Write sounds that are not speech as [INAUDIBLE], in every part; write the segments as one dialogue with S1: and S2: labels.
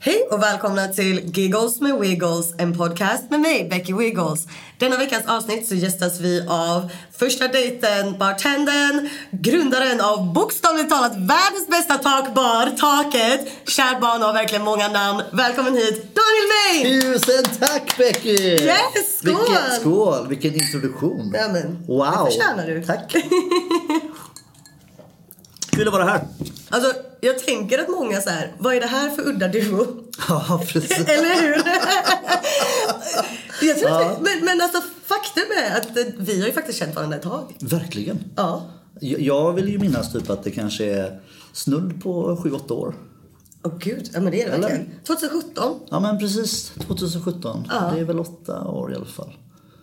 S1: Hej och välkomna till Giggles med Wiggles, en podcast med mig, Becky Wiggles. Denna veckans avsnitt så gästas vi av första dejten, bartendern, grundaren av bokstavligt talat världens bästa takbar, Taket. Kär barn har verkligen många namn. Välkommen hit, Daniel May!
S2: Tusen tack Becky!
S1: Yes, skål!
S2: Vilken, skål! Vilken introduktion!
S1: Ja, men,
S2: wow!
S1: det förtjänar du.
S2: Tack! Kul att vara här!
S1: [LAUGHS] Alltså, jag tänker att många så här, vad är det här för udda duo?
S2: [LAUGHS] Ja, precis.
S1: [LAUGHS] Eller hur? jag tror
S2: Ja.
S1: att vi, men, men alltså faktum är att eh, vi har ju faktiskt känt varandra ett tag.
S2: Verkligen.
S1: Ja.
S2: Jag, jag vill ju minnas typ att det kanske är snudd på 7-8 år.
S1: Åh gud, ja men det är det
S2: Eller?
S1: verkligen. 2017.
S2: Ja men precis, 2017. Det är väl 8 år i alla fall.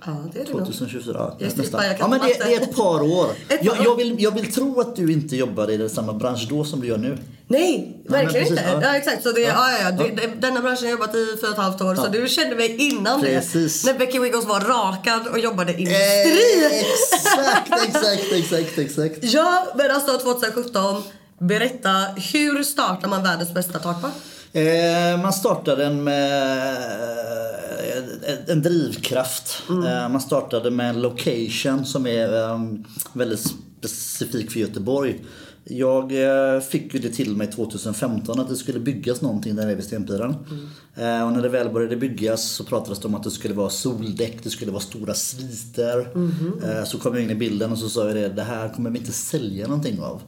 S1: Ja, det är det nog.
S2: 2024,
S1: Jag
S2: ja,
S1: strippar,
S2: nästan.
S1: jag kan
S2: Ja, men det,
S1: matte.
S2: det är ett par år.
S1: [LAUGHS] Ett par
S2: jag, jag,
S1: år.
S2: vill, jag vill tro att du inte jobbade i samma bransch då som du gör nu.
S1: Nej,
S2: men
S1: verkligen
S2: precis,
S1: inte.
S2: ja.
S1: Ja, exakt. Så det, ja.
S2: Ja.
S1: Ja, ja, det, det- Denna branschen har jag jobbat i fyra och ett halvt år. Så du kände mig innan
S2: Precis. Eh.
S1: det. När Becky Wiggles var rakad och jobbade i industri.
S2: Exakt, exakt, exakt, exakt.
S1: Ja, men alltså 2017. Berätta, hur startar man världens bästa takbar?
S2: Eh, man startade den med eh, en drivkraft. Eh, man startade med en location som är eh, väldigt specifik för Göteborg. Jag eh, fick ju det till mig 2015 att det skulle byggas någonting där nere vid Stenpiran. Eh, och när det väl började byggas så pratades det om att det skulle vara soldäck, det skulle vara stora sviter. Eh, så kom jag in i bilden och så sa jag det, det här kommer vi inte sälja någonting av.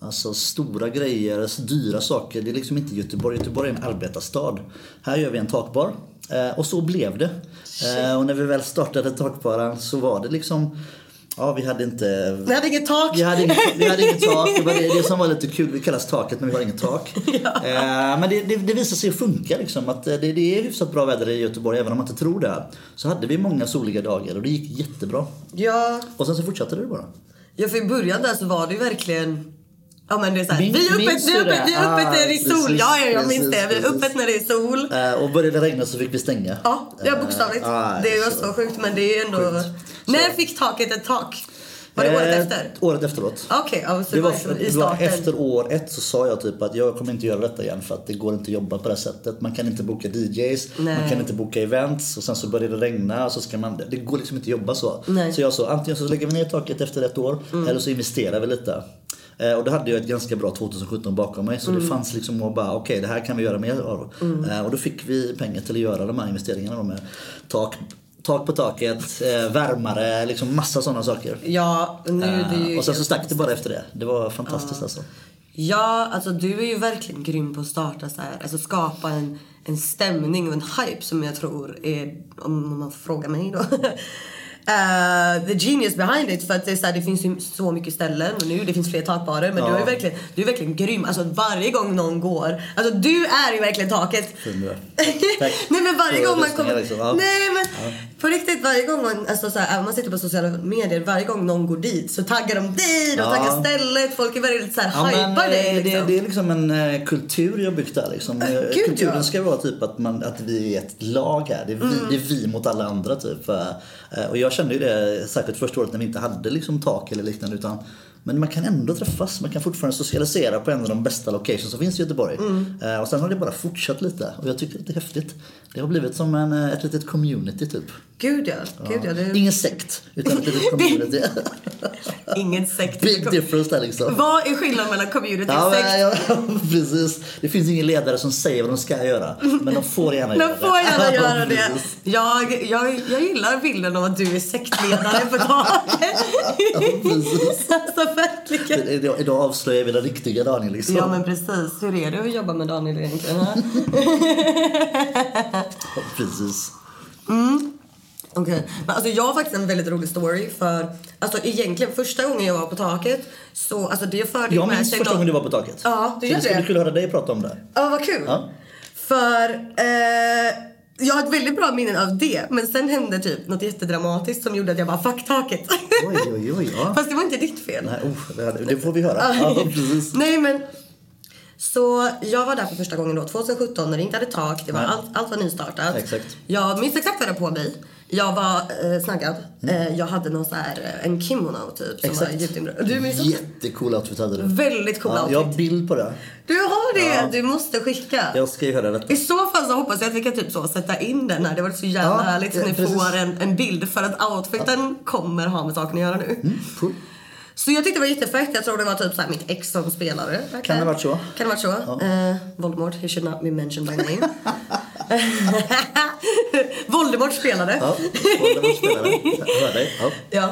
S2: Alltså stora grejer, alltså, dyra saker. Det är liksom inte Göteborg. Göteborg är en arbetarstad. Här gör vi en takbar. Eh, och så blev det. Eh, och när vi väl startade takbaren så var det liksom... Ja, vi hade inte...
S1: Vi hade inget tak.
S2: Vi hade inget, vi hade inget tak. Det var det, det som var lite kul. Vi kallas taket men vi har inget tak. Eh, men det, det, det visar sig funka liksom. Att eh, det, det är hyfsat bra väder i Göteborg även om man inte tror det. Här. Så hade vi många soliga dagar och det gick jättebra.
S1: Ja,
S2: Och sen så fortsatte det bara.
S1: ja, för i början där så var det ju verkligen... Ja men det är såhär,
S2: Min-
S1: vi är öppet,
S2: minns
S1: vi är
S2: du
S1: öppet,
S2: det?
S1: vi är öppet
S2: Ah,
S1: när det är sol.
S2: precis,
S1: ja, ja, jag minns
S2: precis,
S1: det. Vi är
S2: precis.
S1: öppet när det är sol.
S2: Eh, Och började det regna så fick vi stänga.
S1: Ja, ja bokstavligt.
S2: Eh, ja,
S1: det är
S2: så-
S1: ju så sjukt men det är ju ändå...
S2: Sjukt.
S1: När fick taket ett tak? Var det året
S2: Eh,
S1: efter?
S2: Året efteråt.
S1: Okej, ja, så
S2: Det var,
S1: liksom i
S2: det var
S1: starten.
S2: efter år ett så sa jag typ att jag kommer inte göra detta igen för att det går inte att jobba på det här sättet. Man kan inte boka DJs,
S1: Nej.
S2: man kan inte boka events och sen så börjar det regna och så ska man, det går liksom inte att jobba så.
S1: Nej. Mm.
S2: Så jag sa antingen så lägger vi ner taket efter ett år eller så investerar vi lite. Eh, Och då hade jag ett ganska bra 2017 bakom mig så
S1: Mm.
S2: det fanns liksom att bara okej det här kan vi göra mer av. Eh, Och då fick vi pengar till att göra de här investeringarna då med tak, tak på taket, eh, värmare, liksom massa sådana saker.
S1: Ja, nu är det ju...
S2: Eh, Och sen så stack det bara efter det. Det var fantastiskt alltså.
S1: Ja, alltså du är ju verkligen grym på att starta så här. Alltså skapa en, en stämning och en hype som jag tror är, om man frågar mig då. [LAUGHS] eh, the genius behind it. För att det, är så här, det finns ju så mycket ställen och nu det finns fler takbarer. Men du, är ju verkligen, du är verkligen grym. Alltså varje gång någon går. Alltså du är ju verkligen taket. [LAUGHS]
S2: Hundra. Tack.
S1: Nej men varje
S2: För
S1: gång man
S2: lyssningen
S1: kommer...
S2: liksom, ja.
S1: Nej men på riktigt varje gång man, alltså så här, även om man sitter på sociala medier, varje gång någon går dit så taggar de dig, de
S2: Ja.
S1: taggar stället, folk är väldigt så här
S2: Ja, men,
S1: hypar dig
S2: eh, det,
S1: liksom. Äh,
S2: det är liksom en eh, kultur jag byggt där. Liksom. Eh,
S1: gud, ja. Mm.
S2: Kulturen ska vara typ att, man, att vi är ett lag här. Det är, vi, det är vi mot alla eh, andra typ. Eh, Och jag kände ju det särskilt första året när vi inte hade liksom tak eller liknande utan Men man kan ändå träffas, man kan fortfarande socialisera på en av de bästa locations som finns i Göteborg.
S1: Mm.
S2: Eh, Och sen har det bara fortsatt lite och jag tycker det är lite häftigt. Det har blivit som en, eh, ett litet community typ.
S1: Gud ja. Gud, ja. Det...
S2: Ingen sekt,
S1: [LAUGHS]
S2: utan ett litet community.
S1: Ingen sekt.
S2: Big difference där liksom.
S1: Vad är skillnaden mellan community
S2: Ja,
S1: och sekt?
S2: men, ja, [LAUGHS] precis. Det finns ingen ledare som säger vad de ska göra. Men de får gärna göra
S1: De
S2: det.
S1: får gärna
S2: [LAUGHS]
S1: göra det.
S2: Precis.
S1: Jag, jag, jag gillar bilden av att du är sektledare för dagen. [LAUGHS]
S2: precis.
S1: alltså verkligen.
S2: Idag, idag avslöjar vi den riktiga Daniel liksom.
S1: Ja men precis. Hur är det att jobba med Daniel egentligen? ha?
S2: [LAUGHS] Precis.
S1: Okej. Men alltså jag har faktiskt en väldigt rolig story för alltså egentligen första gången jag var på taket så alltså det förde
S2: Jag
S1: med
S2: minns
S1: sig
S2: första
S1: någon-
S2: gången du var på taket.
S1: Ja, du
S2: Så
S1: gör
S2: Det skulle
S1: det.
S2: kul att höra dig prata om det.
S1: Ja, vad kul.
S2: Ja.
S1: För eh, jag har ett väldigt bra minne av det. Men sen hände typ något jättedramatiskt som gjorde att jag bara fuck taket.
S2: Oj, oj, oj.
S1: [LAUGHS]
S2: Ja.
S1: Fast det var inte ditt fel.
S2: Nej, oh, det hade- det får vi höra. Ja, precis.
S1: Nej men. Så jag var där för första gången då 2017 när det inte hade tak. Det var
S2: Nej.
S1: allt, allt var nystartat.
S2: Exakt.
S1: Jag minns exakt vad jag hade på mig. Jag var eh, snaggad. Eh, jag hade någon så här, eh, en kimono typ. Som
S2: Mm. Exakt.
S1: var djupt inbröd. Du minns också?
S2: Jättecool outfit hade du.
S1: Väldigt cool
S2: Ja,
S1: outfit.
S2: jag har bild på det.
S1: Du har det! Du måste skicka.
S2: Jag ska ju höra detta.
S1: I så fall så hoppas jag att vi kan typ så sätta in den här. Det var så jävla
S2: Ja,
S1: härligt att
S2: ja,
S1: ni
S2: precis.
S1: får en, en bild för att outfiten kommer ha med saken att göra nu.
S2: Cool.
S1: Så jag tyckte det var jättefett. Jag tror det var typ så här mitt ex som spelade.
S2: Kan det ha varit så?
S1: Kan det ha varit så? Eh, Voldemort, he should not be mentioned by name. [LAUGHS] Voldemort spelade.
S2: Ja, Voldemort spelare. Jag hör dig. Ja.
S1: Ja.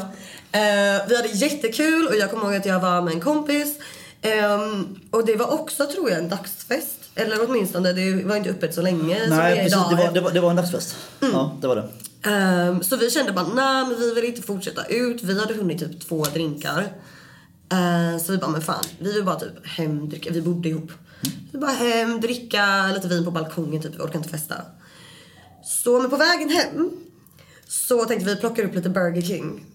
S1: Eh, vi hade jättekul och jag kommer ihåg att jag var med en kompis. Ehm, och det var också tror jag en dagsfest. Eller åtminstone, det var inte öppet så länge som det är
S2: Nej, precis.
S1: idag. Mm.
S2: Det var, det var, det var en dagsfest. Ja, det var det.
S1: Ehm, så vi kände bara nej men vi vill inte fortsätta ut. Vi hade hunnit typ två drinkar. Ehm, så vi bara men fan vi vill bara typ hem dricka. Vi bodde ihop. Vi bara hem dricka lite vin på balkongen typ. Vi orkar inte festa. Så men på vägen hem så tänkte vi plocka upp lite Burger King.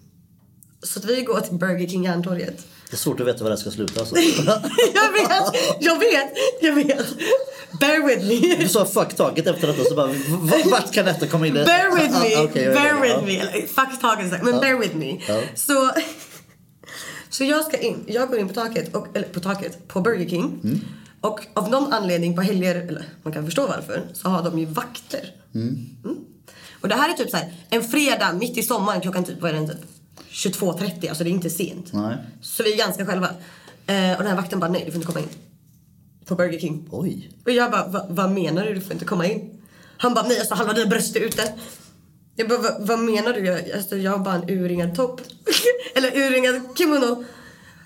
S1: Så att vi går till Burger King Järntorget. [LAUGHS]
S2: Det är svårt att veta var det här ska sluta. Alltså. [LAUGHS]
S1: jag vet, jag vet, jag vet. Bear with me.
S2: Du sa fuck taget efter detta så bara, v- v-
S1: [LAUGHS]
S2: vart kan detta komma in? Ah,
S1: Bear with me,
S2: Okej, jag är
S1: bear
S2: med.
S1: with
S2: Ja.
S1: me. Eller, Fuck taget sagt, men bear with me.
S2: Ja.
S1: Så, [LAUGHS] så jag ska in, jag går in på taket, och, eller på taket, på Burger King.
S2: Mm.
S1: Och av någon anledning på helger, eller man kan förstå varför, så har de ju vakter. Mm. Och det här är typ så här, en fredag mitt i sommaren klockan typ, vad är den typ? 22.30, alltså det är inte sent.
S2: Nej.
S1: Så vi är ganska själva. Eh, och den här vakten bara, nej du får inte komma in. På Burger King.
S2: Oj.
S1: Och jag bara, "Va- vad menar du? Du får inte komma in. Han bara, nej alltså halva dina bröst är ute. Jag bara, "Va- vad menar du? Jag, alltså, jag har bara en urringad topp. [LAUGHS] Eller urringad kimono.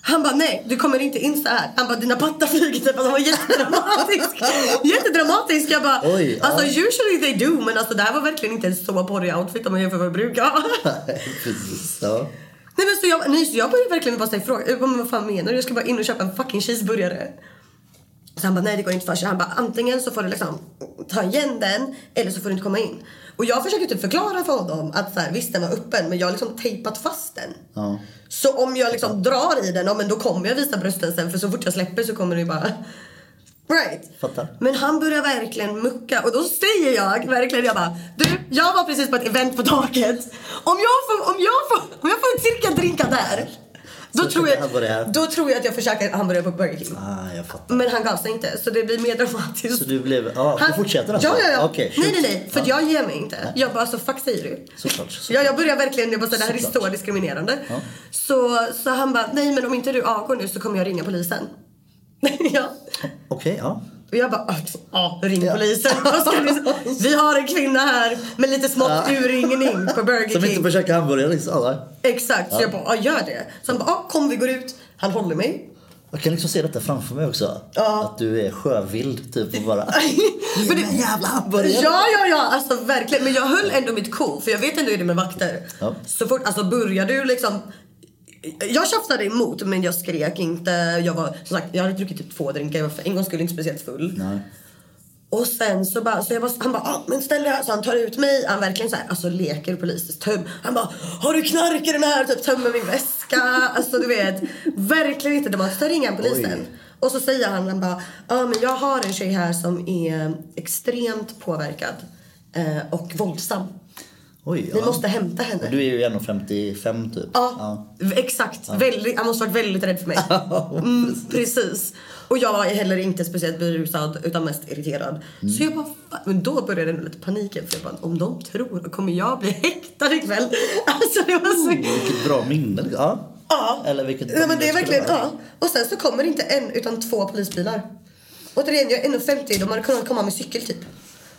S1: Han bara, nej du kommer inte in så här. Han bara, dina pattar flyger typ. Alltså, han var
S2: [LAUGHS]
S1: jättedramatisk. jättedramatisk. Jag bara,
S2: Oj, ja.
S1: alltså usually they do. Men alltså det här var verkligen inte en så porrig outfit om man jämför med vad jag brukar ha. [LAUGHS]
S2: Precis. Ja.
S1: Nej men så jag, nej, så jag började verkligen bara säga fråga, jag bara, men vad fan menar du? Jag ska bara in och köpa en fucking cheeseburgare. Så han bara, nej det går inte för sig. Han bara, antingen så får du liksom ta igen den eller så får du inte komma in. Och jag försöker typ förklara för honom att så här, visst den var öppen men jag har liksom tejpat fast den.
S2: Ja.
S1: Så om jag liksom drar i den, ja men då kommer jag visa brösten sen för så fort jag släpper så kommer det ju bara... Right.
S2: Fattar.
S1: Men han börjar verkligen mucka och då säger jag verkligen jag bara Du, jag var precis på ett event på taket. Om jag får, om jag får, om jag får cirka drinka där. Då
S2: Så
S1: tror,
S2: kan det vara det
S1: jag,
S2: här.
S1: då tror jag att jag försöker hamburgare på Burger King.
S2: Ah, jag fattar.
S1: Men han gav sig inte så det blir mer dramatiskt.
S2: Så du blev, ja, du fortsätter alltså?
S1: Ja, ja, ja.
S2: Okej,
S1: nej,
S2: shoot.
S1: nej, nej. För
S2: Ja.
S1: jag ger mig inte. Jag bara, alltså fuck säger du?
S2: Såklart, såklart.
S1: Ja, jag börjar verkligen, jag bara, så här, det här är
S2: Såklart.
S1: så diskriminerande.
S2: Ja.
S1: Så, så han bara, nej men om inte du avgår nu så kommer jag ringa polisen. [LAUGHS] ja.
S2: Okej, ja.
S1: Och jag bara, ja, ring
S2: Ja.
S1: polisen. [LAUGHS] Vad ska du- Vi har en kvinna här med lite smått urringning på Burger
S2: Som inte
S1: King.
S2: får käka hamburgare liksom. Ja, nej.
S1: Exakt, så jag bara, ja gör det. Så han bara, ja kom vi går ut. Han håller mig.
S2: jag kan liksom se detta framför mig också.
S1: Ja.
S2: Att du är sjövild typ och
S1: [LAUGHS]
S2: bara...
S1: Men det-
S2: "Ge mig en jävla hamburgare!
S1: Ja, ja, ja, alltså verkligen. Men jag höll ändå mitt cool, för jag vet ändå hur det är med vakter.
S2: Ja.
S1: Så fort, alltså börjar du liksom... Jag tjafsade emot, men jag skrek inte. Jag var, som sagt, jag hade druckit typ två drinkar, jag var för en gång skulle inte speciellt full.
S2: Nej.
S1: Och sen så bara, så jag bara han bara, ah, men ställ dig här. Så han tar ut mig, han verkligen så här, alltså leker polisens töm. Han bara, har du knark i den här? Typ tömmer min väska. alltså du vet, verkligen inte dramatiskt. Sen ringer han polisen.
S2: Oj.
S1: Och så säger han, han bara, ja men jag har en tjej här som är extremt påverkad eh, och våldsam.
S2: Oj,
S1: Vi
S2: ja.
S1: måste hämta henne.
S2: Du är ju 1,55 typ.
S1: Ja, exakt. Väldigt, han måste ha varit väldigt rädd för mig. Mm, precis. Och jag är heller inte speciellt berusad utan mest irriterad. Så jag bara, "Fan." men då började den lite paniken för jag bara, om de tror, kommer jag bli [LAUGHS] häktad ikväll? Alltså det var så...
S2: Vilket bra minne. liksom. Ja.
S1: Ja.
S2: Eller vilket
S1: Nej, men det är
S2: skulle
S1: verkligen,
S2: vara.
S1: ja. Och sen så kommer inte en utan två polisbilar. Återigen, jag är 1,50. De hade kunnat komma med cykel typ.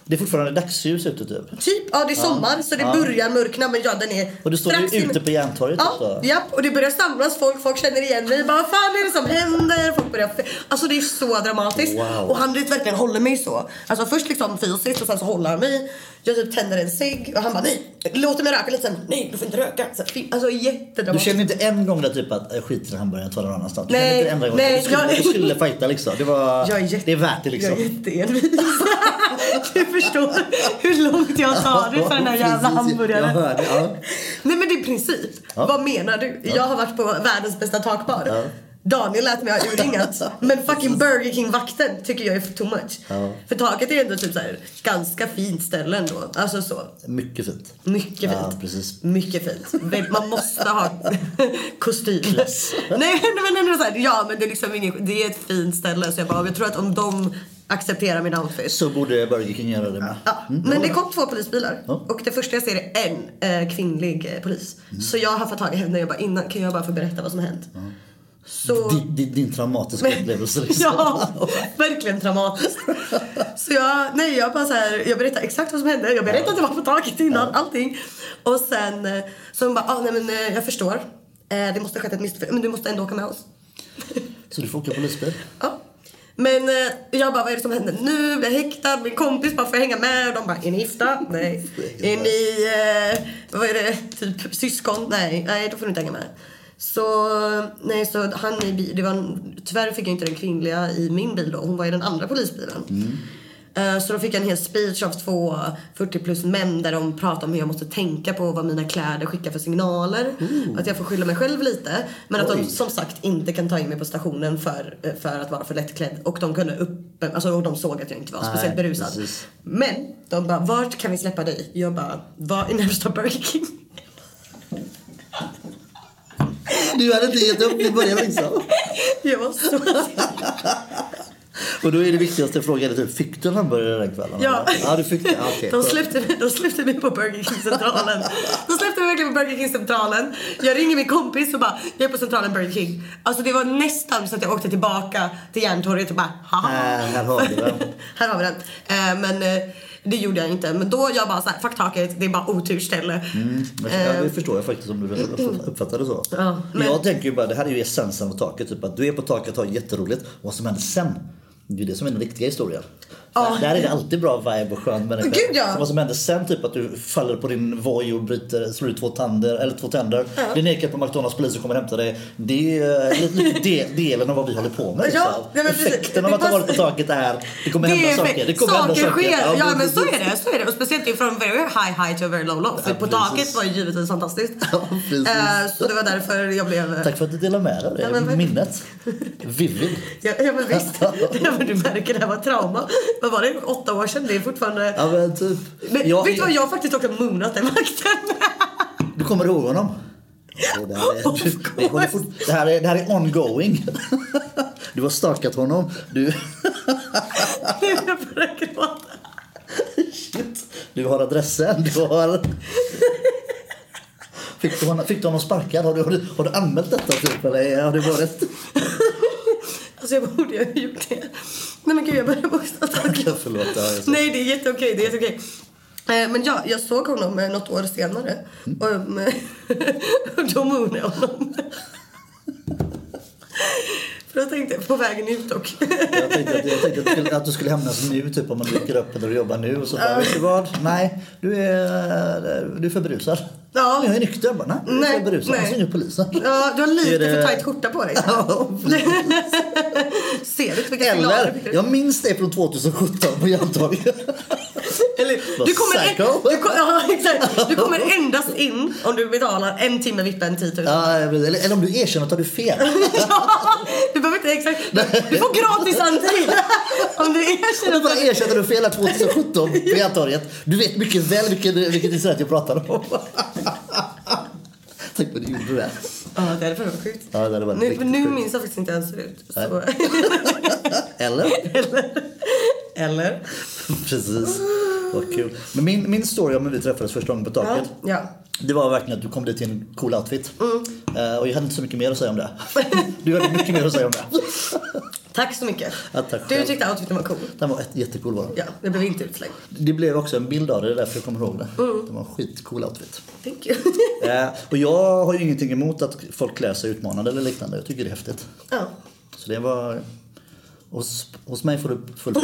S2: Det är fortfarande dagsljus ute typ.
S1: Typ, ja det är sommar så det börjar mörkna men ja den är
S2: Och då står
S1: strax
S2: du
S1: in-
S2: ute på Järntorget
S1: Ja,
S2: också.
S1: japp, och det börjar samlas folk, folk känner igen mig. Bara, vad fan är det som händer? Folk börjar fe- alltså det är så dramatiskt.
S2: Wow.
S1: Och han vet verkligen håller mig så. Alltså först liksom fysiskt och sen så håller han mig. Jag typ tänder en cigg och han bara nej, låter mig röka lite sen. Nej, du får inte röka. Så, fy- alltså
S2: Du
S1: jättedramatiskt.
S2: känner inte en gång där typ att äh, skit i den hamburgaren, jag tar någon annanstans. Du
S1: Nej,
S2: känner inte en enda gång
S1: nej,
S2: att du skulle,
S1: jag-
S2: du skulle fighta liksom. Det, var,
S1: Jag är jätte-
S2: det är värt det
S1: Jag är
S2: liksom.
S1: jätteenvis. [LAUGHS] du förstår hur långt jag tar
S2: [LAUGHS]
S1: det för den här jävla
S2: Precis,
S1: hamburgaren.
S2: jag hörde, ja.
S1: Nej men det är princip.
S2: Ja.
S1: Vad menar du? Jag har varit på världens bästa takbar.
S2: Ja.
S1: Daniel lät mig ha
S2: [LAUGHS]
S1: urringat. Men fucking Burger King-vakten tycker jag är too much.
S2: Ja.
S1: För taket är ändå typ så här ganska fint ställe ändå. Alltså så.
S2: Mycket fint.
S1: Mycket fint.
S2: Ja, precis.
S1: Mycket fint. Men Man måste
S2: [LAUGHS]
S1: ha kostym. Nej men ändå så här, ja men det är liksom ingen, det är ett fint ställe så jag bara, jag tror att om de accepterar min outfit.
S2: Så borde Burger King göra det med.
S1: Ja, men det kom två polisbilar
S2: Ja.
S1: och det första jag ser är en eh, kvinnlig eh, polis. Så jag har fått tag i henne och jag bara, innan kan jag bara få berätta vad som hänt? Så...
S2: Din, din, din traumatiska
S1: [LAUGHS]
S2: upplevelse liksom.
S1: Ja, verkligen traumatiskt. Så jag, nej, jag bara så här, jag berättar exakt vad som hände. Jag berättade att det var på taket innan, allting. Och sen eh, så hon bara, ah, nej men eh, jag förstår. Eh, Det måste ha skett ett misstag, men du måste ändå åka med oss.
S2: Så du får åka polisbil.
S1: Ja. Men eh, jag bara, vad är det som händer nu? Blir jag häktad? Min kompis bara, får jag hänga med? Och de bara, är ni gifta? Nej. Är ni, eh, vad är det, typ syskon? Nej, nej, då får du inte hänga med. Så, nej, så han i bil, det var en, tyvärr fick jag inte den kvinnliga i min bil då. Hon var i den andra polisbilen. Eh, Så då fick jag en hel speech av två 40 plus män där de pratade om hur jag måste tänka på vad mina kläder skickar för signaler. Att jag får skylla mig själv lite. Men att de
S2: Oj.
S1: som sagt inte kan ta in mig på stationen för, eh, för att vara för lättklädd. Och de kunde upp, alltså och de såg att jag inte var speciellt berusad.
S2: precis.
S1: Men de bara, vart kan vi släppa dig? Jag bara, var i närmsta Burger King. [LAUGHS]
S2: Du hade inte gett upp i början liksom.
S1: Jag var så
S2: Och då är det viktigaste frågan typ, fick du en hamburgare den kvällen?
S1: Ja.
S2: eller? ja du fick det. Ja, okej.
S1: De släppte, mig- de släppte mig på Burger King-centralen. De släppte mig verkligen på Burger King-centralen. Jag ringer min kompis och bara, jag är på centralen Burger King. Alltså det var nästan så att jag åkte tillbaka till Järntorget och bara, haha.
S2: Äh, här har vi den.
S1: [LAUGHS] här har vi den. Eh, men eh, det gjorde jag inte. Men då jag bara såhär, fuck taket, det är bara oturställe.
S2: Mm. Ja, det förstår jag
S1: [CLEARS THROAT]
S2: faktiskt om du uppfattar det så.
S1: Ehm, Ja, men-
S2: Jag tänker ju bara, det här är ju essensen av taket. Typ att du är på taket och har jätteroligt. Vad som händer sen, det är ju det som är den riktiga historien.
S1: Ja.
S2: Där är det alltid bra vibe och skön människa.
S1: Gud, ja.
S2: Så Vad som händer sen, typ att du faller på din voj och bryter, slår ut två tänder, eller två tänder. Blir nekad på McDonalds, polisen kommer hämta dig. Det är eh, lite,
S1: [LAUGHS]
S2: lite de, delen av vad vi håller på med.
S1: Ja,
S2: liksom.
S1: nej, men precis.
S2: Effekten av
S1: Det
S2: att ha varit på
S1: passar-
S2: taket är, det kommer
S1: Det
S2: hända
S1: är,
S2: saker. Det kommer hända
S1: saker
S2: saker.
S1: sker, ja,
S2: precis.
S1: men så är det. Så är det. Och speciellt ju från very high high to very low low. För
S2: Ja,
S1: på
S2: precis.
S1: taket var ju givetvis fantastiskt.
S2: [LAUGHS] Ja, precis.
S1: Eh, så det var därför jag blev...
S2: Tack för att du delar med dig av det.
S1: Ja, men verkligen. [LAUGHS]
S2: Minnet. Vivid.
S1: Ja, ja men
S2: [LAUGHS]
S1: visst. ja, men du märker det här var trauma. Vad var det? Åtta år sedan? Det är fortfarande...
S2: Ja men typ.
S1: Men,
S2: Jag-
S1: vet du vad? Jag har faktiskt åkt och moonat den vakten. [LAUGHS]
S2: Du kommer ihåg honom? Det här,
S1: Of
S2: är, vi håller
S1: course.
S2: fort- det, här är, det här är
S1: [LAUGHS]
S2: ongoing. Du har stalkat honom. Du,
S1: jag börjar gråta.
S2: du har adressen. Du har... Fick du, honom, fick du honom sparkad? Har du, har, du, har du anmält detta typ? Eller har det varit...
S1: Alltså jag borde ju ha gjort det. Nej men gud jag börjar bokstavligt
S2: Förlåt. [LAUGHS] Ja, jag ser.
S1: Nej det är jätteokej, det är jätteokej. Eh, Men ja, jag såg honom eh, något år senare. Och, mm, [LAUGHS] och då moonade jag honom. [LAUGHS] För jag tänkte, på vägen ut dock.
S2: jag tänkte, att, jag tänkte att, du skulle, att du skulle hämnas nu, typ om man dyker upp eller du jobbar nu. Och så bara, vet du vad? Nej, du är, du är för berusad.
S1: [LAUGHS] Ja.
S2: Men Jag är nykter. Jag Bara, nej, du är
S1: Nej,
S2: för berusad.
S1: nej.
S2: Han ringer polisen.
S1: Ja, du har lite
S2: Är det-
S1: för tajt skjorta på dig.
S2: [LAUGHS] Ja,
S1: Ser du inte vilka signaler du
S2: Eller,
S1: skickar ut?
S2: jag minns det från 2017 på Järntorget.
S1: [LAUGHS] Eller,
S2: Vad
S1: du, kommer en,
S2: psycho.
S1: du, kom- ja, exakt. du kommer endast in om [LAUGHS] du betalar en timme vippen 10 000. [LAUGHS]
S2: Ja, eller, eller om du erkänner att du har fel.
S1: Du behöver exakt, exakt. Du får gratis
S2: [LAUGHS]
S1: entré om du erkänner
S2: Du
S1: att
S2: bara erkänner du fel här 2017 på Hjärtorget. Du vet mycket väl vilket, vilket incident jag pratar om. [LAUGHS] Tänk vad du gjorde det.
S1: Ja, det hade varit sjukt.
S2: Ja, det hade varit
S1: nu,
S2: riktigt
S1: nu
S2: sjukt.
S1: minns jag faktiskt inte hur han ser ut. Så.
S2: Eller?
S1: [LAUGHS] Eller?
S2: Precis. Vad kul. Men min, min story om hur vi träffades första gången på
S1: Ja. Mm.
S2: taket.
S1: ja.
S2: Det var verkligen att du kom dit i en cool outfit. Eh, och jag hade inte så mycket mer att säga om
S1: [LAUGHS]
S2: det. Du hade mycket mer att säga om det.
S1: Tack så mycket.
S2: Ja, tack
S1: du
S2: själv.
S1: tyckte outfiten var cool.
S2: Den var ett jättecool var den.
S1: Ja, jag blev inte utslängd.
S2: Det blev också en bild av det, det är därför jag kommer ihåg det. Det var en skitcool outfit.
S1: Thank you. [LAUGHS]
S2: Eh, och jag har ju ingenting emot att folk klär sig utmanande eller liknande. Jag tycker det är häftigt.
S1: ja.
S2: Så det var... Hos, hos mig får du full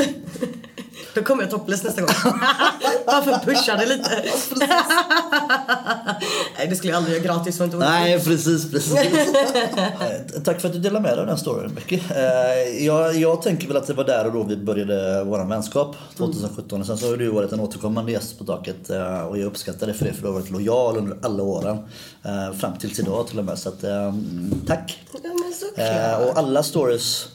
S1: Då kommer jag topless nästa gång.
S2: [LAUGHS]
S1: Varför pushade lite? [LAUGHS] Nej, det skulle jag aldrig göra gratis. Var inte Nej.
S2: Nej, precis, precis. Eh, Tack för att du delar med dig av den storyn, Becky. Eh, Jag, jag tänker väl att det var där och då vi började vår vänskap 2017. Och sen så har du varit en återkommande gäst på taket eh, och jag uppskattar det för det för du har varit lojal under alla åren. eh, Fram tills idag till och med. Så att, eh, mm, tack.
S1: Ja, men såklart.
S2: Eh, Och alla stories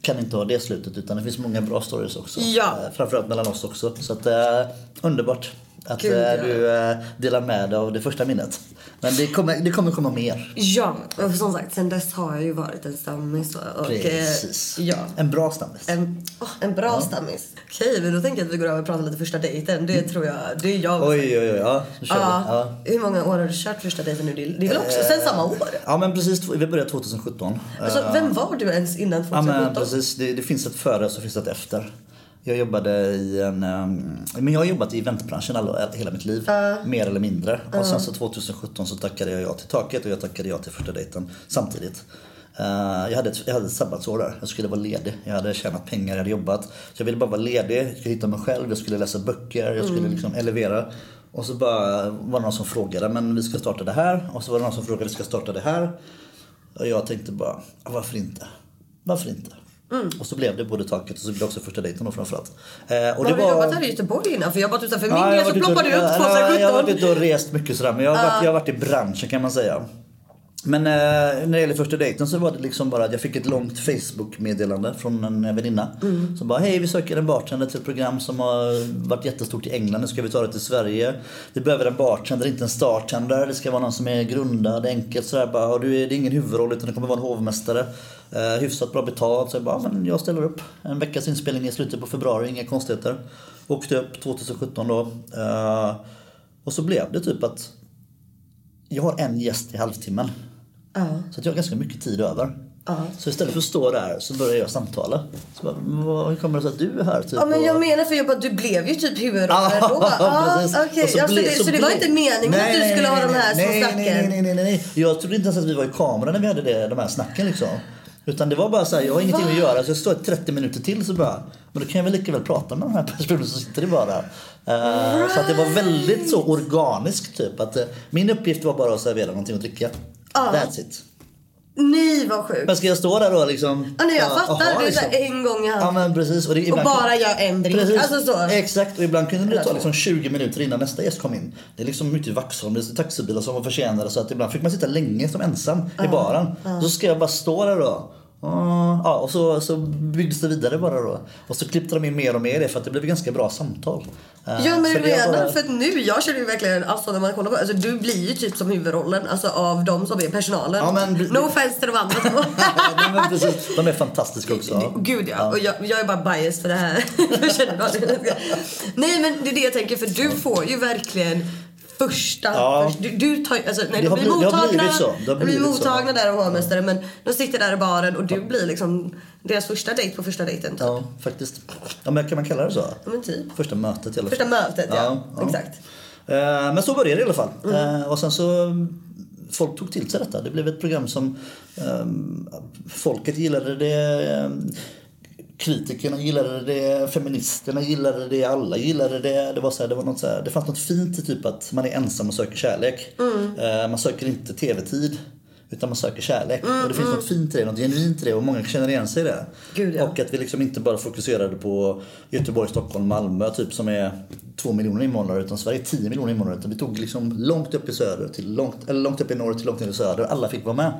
S2: kan inte ha det slutet utan det finns många bra stories också.
S1: Ja.
S2: Eh, Framförallt mellan oss också. Så att, eh, underbart att
S1: Gud,
S2: eh,
S1: ja.
S2: du eh, delar med dig av det första minnet. Men det kommer, det kommer komma mer.
S1: Ja, och som sagt, sen dess har jag ju varit en stammis. Och,
S2: Precis.
S1: Eh, ja.
S2: En bra stammis.
S1: En, åh, en bra stammis. Okej, men då tänker jag att vi går över och pratar lite första dejten. Det tror jag, det är jag.
S2: Mm. Oj, oj, oj. Ja, nu kör vi.
S1: ja.
S2: Ja.
S1: Hur många år har du kört första dejten nu? Det är- det är väl också sen samma år?
S2: ja, men precis. Vi började 2017. Eh,
S1: Alltså, vem var du ens innan
S2: Ja,
S1: 2017?
S2: men precis. Det, det finns ett före och så finns det ett efter. Jag jobbade i en... ehm, men jag har jobbat i eventbranschen alla, hela mitt liv. Mer eller mindre. Och sen så 2017 så tackade jag ja till taket och jag tackade ja till första dejten samtidigt. Eh, jag, hade ett, jag hade ett sabbatsår där. Jag skulle vara ledig. Jag hade tjänat pengar, jag hade jobbat. Så jag ville bara vara ledig, jag skulle hitta mig själv, jag skulle läsa böcker, jag skulle liksom elevera. Och så bara var det någon som frågade, men vi ska starta det här. Och så var det någon som frågade, vi ska starta det här. Och jag tänkte bara, "Ah, varför inte? Varför inte?
S1: Mm.
S2: Och så blev det både taket och så blev det också första dejten då framförallt. Eh, och
S1: har du jobbat här i Göteborg innan? För jag har varit utanför min
S2: Ja, jag
S1: grej
S2: har
S1: så
S2: varit ute och-
S1: ploppade du upp
S2: ja, Jag har
S1: 2017.
S2: varit ute och rest mycket sådär men jag har, varit, jag har varit i branschen kan man säga. Men eh, när det gäller första dejten så var det liksom bara att jag fick ett långt Facebook-meddelande från en eh, väninna. Som bara, hej vi söker en bartender till ett program som har varit jättestort i England. Nu ska vi ta det till Sverige. Vi behöver en bartender, inte en startender. Det ska vara någon som är grundad, enkelt sådär bara. Och du är, det är ingen huvudroll utan det kommer vara en hovmästare. Eh, hyfsat bra betalt. Så jag bara, "Ja, men jag ställer upp. En veckas inspelning i slutet på februari, inga konstigheter. Åkte upp 2017 då. Eh, och så blev det typ att jag har en gäst i halvtimmen. Så att jag har ganska mycket tid över. Så istället för att stå där så börjar jag samtala. Så bara, "Vad- hur kommer det sig att du är här? Typ,
S1: Ja men jag
S2: och-
S1: menar för jag bara, du blev ju typ huvudrollen
S2: [LAUGHS] Ja,
S1: då. Ja,
S2: precis.
S1: okej.
S2: Och
S1: ja, så,
S2: ble-
S1: det, så, det var
S2: ble-
S1: inte meningen
S2: Nej,
S1: att du
S2: nej,
S1: skulle
S2: nej,
S1: ha de här
S2: nej,
S1: små
S2: nej,
S1: snacken?
S2: Nej, nej, nej, nej, nej. Jag trodde inte ens att vi var i kameran när vi hade det, de här snacken liksom. Utan det var bara så här, jag har ingenting att göra så jag står 30 minuter till så bara, men då kan jag väl lika väl prata med de här personerna som sitter i bara. Eh, Så att det var väldigt så organiskt typ. Att, eh, min uppgift var bara att servera någonting att dricka. That's it.
S1: Nej vad sjukt.
S2: Men ska jag stå där då liksom?
S1: Ja, nej, jag
S2: Ja,
S1: fattar.
S2: aha,
S1: det är så
S2: liksom.
S1: här en gång i
S2: Ja
S1: hand.
S2: men precis. det,
S1: och
S2: ibland-
S1: bara gör en drink.
S2: Precis.
S1: Alltså så.
S2: Exakt och ibland kunde det ta liksom 20 minuter innan nästa gäst kom in. Det är liksom ute i Vaxholm, det är taxibilar som var försenade så att ibland fick man sitta länge som ensam i baren. Så ska jag bara stå där då. Ah, Ja, och så, så byggdes det vidare bara då. Och så klippte de in mer och mer i det för att det blev ganska bra samtal. Eh,
S1: Ja men
S2: så
S1: du
S2: det
S1: menar,
S2: var- [LAUGHS]
S1: för att nu, jag känner ju verkligen, alltså när man kollar på, alltså du blir ju typ som huvudrollen, alltså av de som är personalen.
S2: Ja, men-
S1: No offense till de
S2: [LAUGHS]
S1: andra.
S2: Nej, men precis. De är
S1: [LAUGHS]
S2: fantastiska också.
S1: Gud ja, och jag, jag är bara biased för det här. [LAUGHS] jag känner bara det. Nej men det är det jag tänker, för du får ju verkligen första,
S2: Ja.
S1: först, du, du tar alltså, nej,
S2: Det
S1: de
S2: har
S1: blir
S2: bli- det har
S1: mottagna,
S2: blivit så. Det har
S1: de blir
S2: blivit så.
S1: mottagna där av hovmästaren men de sitter där i baren och du blir liksom deras första dejt på första dejten. typ.
S2: Ja, faktiskt. Ja, men kan man kalla det så?
S1: Ja, men typ.
S2: Första mötet i alla fall.
S1: Första mötet ja, exakt.
S2: Eh, Men så började det i alla fall. Eh, Och sen så Folk tog till sig detta. Det blev ett program som eh, folket gillade det. eh, Kritikerna gillade det, feministerna gillade det, alla gillade det. Det, var så här, det, var något så här, det
S1: Mm.
S2: fanns något fint i typ att man är ensam och söker kärlek. Eh, man söker inte tv-tid. Utan man söker kärlek.
S1: Mm,
S2: och det finns något fint i det, något genuint i det och många känner igen sig i det.
S1: Gud, ja.
S2: Och att vi liksom inte bara fokuserade på Göteborg, Stockholm, Malmö typ som är två miljoner invånare utan Sverige är 10 miljoner invånare. Utan vi tog liksom långt upp i söder till långt, eller långt upp i norr till långt ner i söder. Alla fick vara med.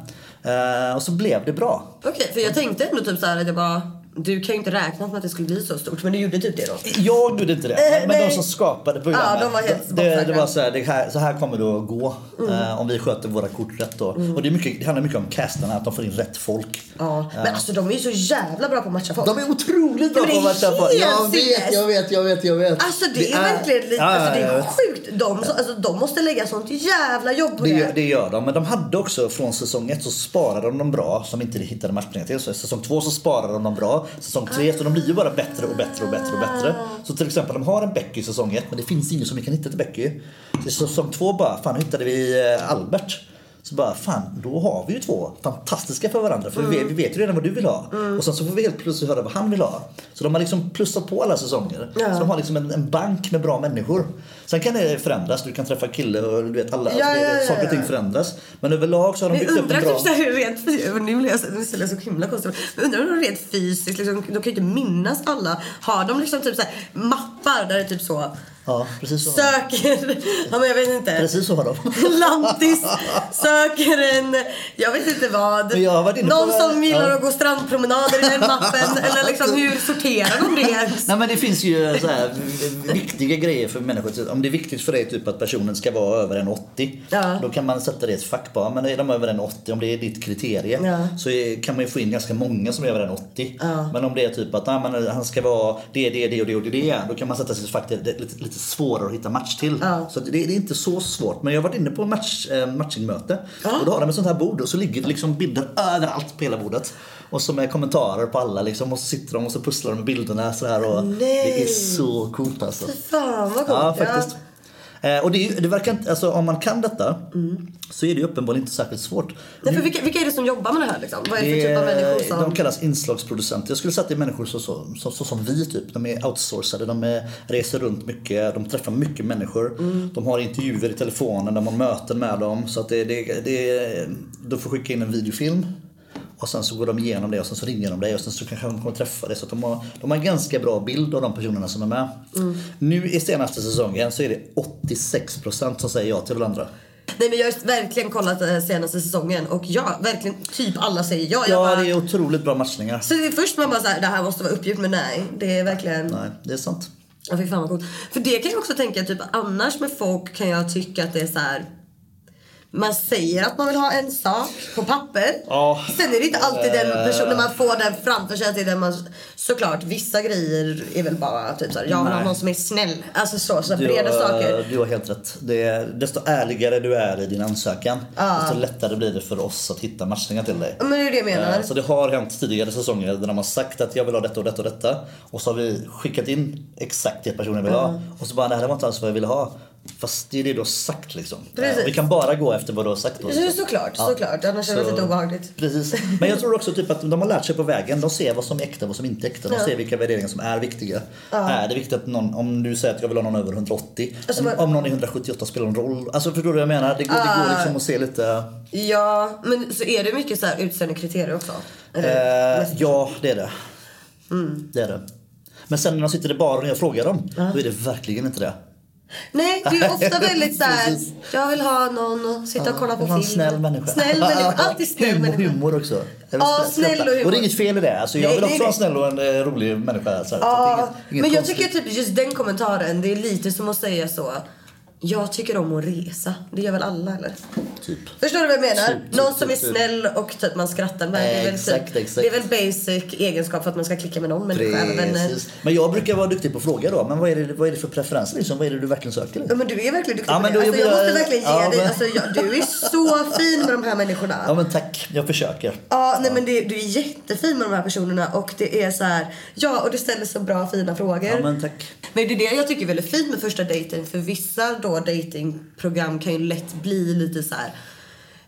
S2: Eh, och så blev det bra.
S1: Okej, för jag tänkte ändå typ så här att jag bara... Du kan ju inte räkna med att det skulle bli så stort, men du gjorde typ det då.
S2: Jag gjorde inte det. men
S1: nej.
S2: Eh, de som skapade programmet.
S1: Ja, de var helt
S2: det, det
S1: bortsäkra.
S2: var så här, det här, så här kommer det att gå. eh, om vi sköter våra kort rätt då. Och det, är mycket, det handlar mycket om castarna, att de får in rätt folk.
S1: Ja. Men alltså de är ju så jävla bra på att matcha folk.
S2: De är otroligt bra
S1: Men det
S2: på
S1: är
S2: att matcha folk.
S1: helt
S2: Jag vet,
S1: sinnes.
S2: jag vet, jag vet, jag vet.
S1: Alltså det, är verkligen lite,
S2: Ja, ja,
S1: alltså, det
S2: jag
S1: är
S2: vet.
S1: sjukt. De, så- alltså, de måste lägga sånt jävla jobb på
S2: Det,
S1: det.
S2: gör- det gör de, men de hade också från säsong ett så sparade de dem bra som inte hittade matchningar till. Så säsong två så sparade de dem bra. Säsong tre så de blir ju bara bättre och bättre och bättre och bättre.
S1: Ah.
S2: Så till exempel de har en Becky i säsong ett men det finns ingen som vi kan hitta till Becky. Så i säsong två bara, fan hittade vi eh, Albert. Så bara, fan då har vi ju två fantastiska för varandra för
S1: Mm.
S2: vi, vi vet ju redan vad du vill ha. Och sen så får vi helt plötsligt höra vad han vill ha. Så de har liksom plussat på alla säsonger.
S1: Ja.
S2: Så de har liksom en, en bank med bra människor. Sen kan det förändras, du kan träffa kille och du vet alla,
S1: Ja,
S2: alltså, det,
S1: ja, ja,
S2: saker och ting
S1: ja.
S2: förändras. Men överlag så har de
S1: Vi
S2: byggt upp
S1: undrar
S2: en bra...
S1: typ såhär hur rent fysiskt, nu blir jag så, nu ställer jag så himla konstigt Men undrar hur de rent fysiskt, liksom, de kan ju inte minnas alla. Har de liksom typ såhär mappar där det är typ så
S2: Ja, precis så. har de.
S1: söker, ja men jag vet inte.
S2: Precis så
S1: [LAUGHS]
S2: har de.
S1: Lantis söker en, jag vet inte vad.
S2: Men jag har varit inne på
S1: Någon
S2: det här.
S1: som gillar
S2: Ja.
S1: att gå strandpromenader i den
S2: [LAUGHS]
S1: mappen. Eller liksom hur sorterar de det ens?
S2: Nej men det finns ju så här viktiga grejer för människor. Så Om det är viktigt för dig typ att personen ska vara över en 80
S1: Ja.
S2: då kan man sätta det i ett fack bara. Men är de över en 80, om det är ditt kriterie
S1: Ja.
S2: så är, kan man ju få in ganska många som är över en 80. Men om det är typ att ah, men han ska vara det, det, det och det och det, det då kan man sätta sig i ett fack där det är lite, lite svårare att hitta match till.
S1: Ja.
S2: Så det, det är inte så svårt. Men jag har varit inne på match, eh, matchingmöte
S1: Ja.
S2: och då har de ett sånt här bord och så ligger det liksom bilder överallt på hela bordet. Och så med kommentarer på alla liksom och så sitter de och så pusslar de med bilderna så här och det är så coolt alltså.
S1: Fan vad coolt.
S2: Ja, faktiskt. Eh, Och det, är ju- det verkar inte, alltså om man kan detta
S1: Mm.
S2: så är det ju uppenbarligen inte särskilt svårt.
S1: Nej, för vilka, vilka är det som jobbar med det här liksom? Vad är det för typ av människor
S2: Det-
S1: som...
S2: De kallas inslagsproducenter. Jag skulle säga att det är människor så, så, så, så som vi typ. De är outsourcade, de är, reser runt mycket, de träffar mycket människor.
S1: Mm.
S2: De har intervjuer i telefonen, de har möten med dem. Så att det, det, det, de får skicka in en videofilm. Och sen så går de igenom det och sen så ringer de dig och sen så kanske de kommer träffa dig. Så att de, har, de har en ganska bra bild av de personerna som är med.
S1: Mm.
S2: Nu i senaste säsongen så är det 86% som säger ja till varandra.
S1: Nej men jag har verkligen kollat eh, senaste säsongen och ja, verkligen typ alla säger ja. Jag
S2: Ja,
S1: bara,
S2: det är otroligt bra matchningar.
S1: Så det är först man bara såhär, det här måste vara uppgjort men nej. Det är verkligen,
S2: Nej, det är sant.
S1: ja fy fan vad coolt. För det kan jag också tänka typ annars med folk kan jag tycka att det är så här. Man säger att man vill ha en sak på papper.
S2: Ja.
S1: Sen är det inte alltid den personen när man får den framför sig. Att det är den man, såklart vissa grejer är väl bara typ såhär, jag vill ha
S2: Nej.
S1: någon som är snäll. Alltså så, så
S2: Du
S1: breda saker.
S2: eh, Du har helt rätt. Det är, desto ärligare du är i din ansökan desto lättare blir det för oss att hitta matchningar till dig.
S1: Ja, Men det är ju det jag menar.
S2: Eh, Så det har hänt tidigare säsonger där de har sagt att jag vill ha detta och detta och detta. Och så har vi skickat in exakt det personen vill ha. Och så bara det här var inte alls vad jag ville ha. Fast det är det du har sagt liksom. Eh,
S1: Precis.
S2: Vi kan bara gå efter vad du har sagt. Då,
S1: Så, såklart, såklart. Annars är det
S2: Så-
S1: lite obehagligt.
S2: Precis. Men jag tror också typ att de har lärt sig på vägen. De ser vad som är äkta och vad som inte är äkta. De
S1: Ja.
S2: ser vilka värderingar som är viktiga. Är det viktigt att någon, om du säger att jag vill ha någon över 180.
S1: Alltså,
S2: om,
S1: vad- Ah.
S2: om någon är 178 spelar någon roll. Alltså förstår du vad jag menar? Det går, det går liksom att se lite.
S1: Ja, men så är det mycket så här utseende kriterier också? Eller?
S2: Eh, ja, det är det.
S1: Mm.
S2: Det är det. Men sen när de sitter i baren och jag frågar dem. Då är det verkligen inte det.
S1: Nej, det är ju ofta väldigt så här.
S2: Precis.
S1: jag vill ha någon att sitta och kolla på
S2: Någon
S1: film.
S2: snäll människa. [LAUGHS]
S1: Snäll människa. Alltid snäll
S2: humor,
S1: människa.
S2: humor också. Jag vill
S1: Ja,
S2: skratta.
S1: snäll och humor.
S2: Och det är inget fel i det. Alltså, jag
S1: Nej,
S2: vill
S1: nej,
S2: också ha en
S1: nej.
S2: snäll och en eh, rolig människa. Så här. Så att det är
S1: Ja,
S2: inget- inget
S1: men jag
S2: konstigt.
S1: tycker typ just den kommentaren, det är lite som att säga så. Jag tycker om att resa. Det gör väl alla eller?
S2: Typ.
S1: Förstår du vad jag menar?
S2: Typ, typ,
S1: någon som är
S2: typ, typ.
S1: snäll och typ man skrattar med. det, är
S2: Eh,
S1: väl
S2: exakt,
S1: typ,
S2: exakt.
S1: det är väl basic egenskap för att man ska klicka med någon människa, även vänner.
S2: Precis. Men jag brukar vara duktig på att fråga då. Men vad är det, vad är det för preferenser liksom? Vad är det du verkligen söker?
S1: Ja, men du är verkligen duktig
S2: Ja,
S1: på
S2: men
S1: det.
S2: då
S1: Alltså,
S2: blir
S1: jag
S2: jag-
S1: måste verkligen ge
S2: ja,
S1: dig.
S2: men-
S1: Alltså, jag, du är så fin med de här människorna.
S2: Ja
S1: Ja,
S2: men tack, jag försöker.
S1: nej, men det, du är jättefin med de här personerna och det är så här, ja och du ställer så bra fina frågor.
S2: Ja
S1: men...
S2: men tack.
S1: det är det jag tycker är väldigt fint med första dejten för vissa då datingprogram kan ju lätt bli lite så här.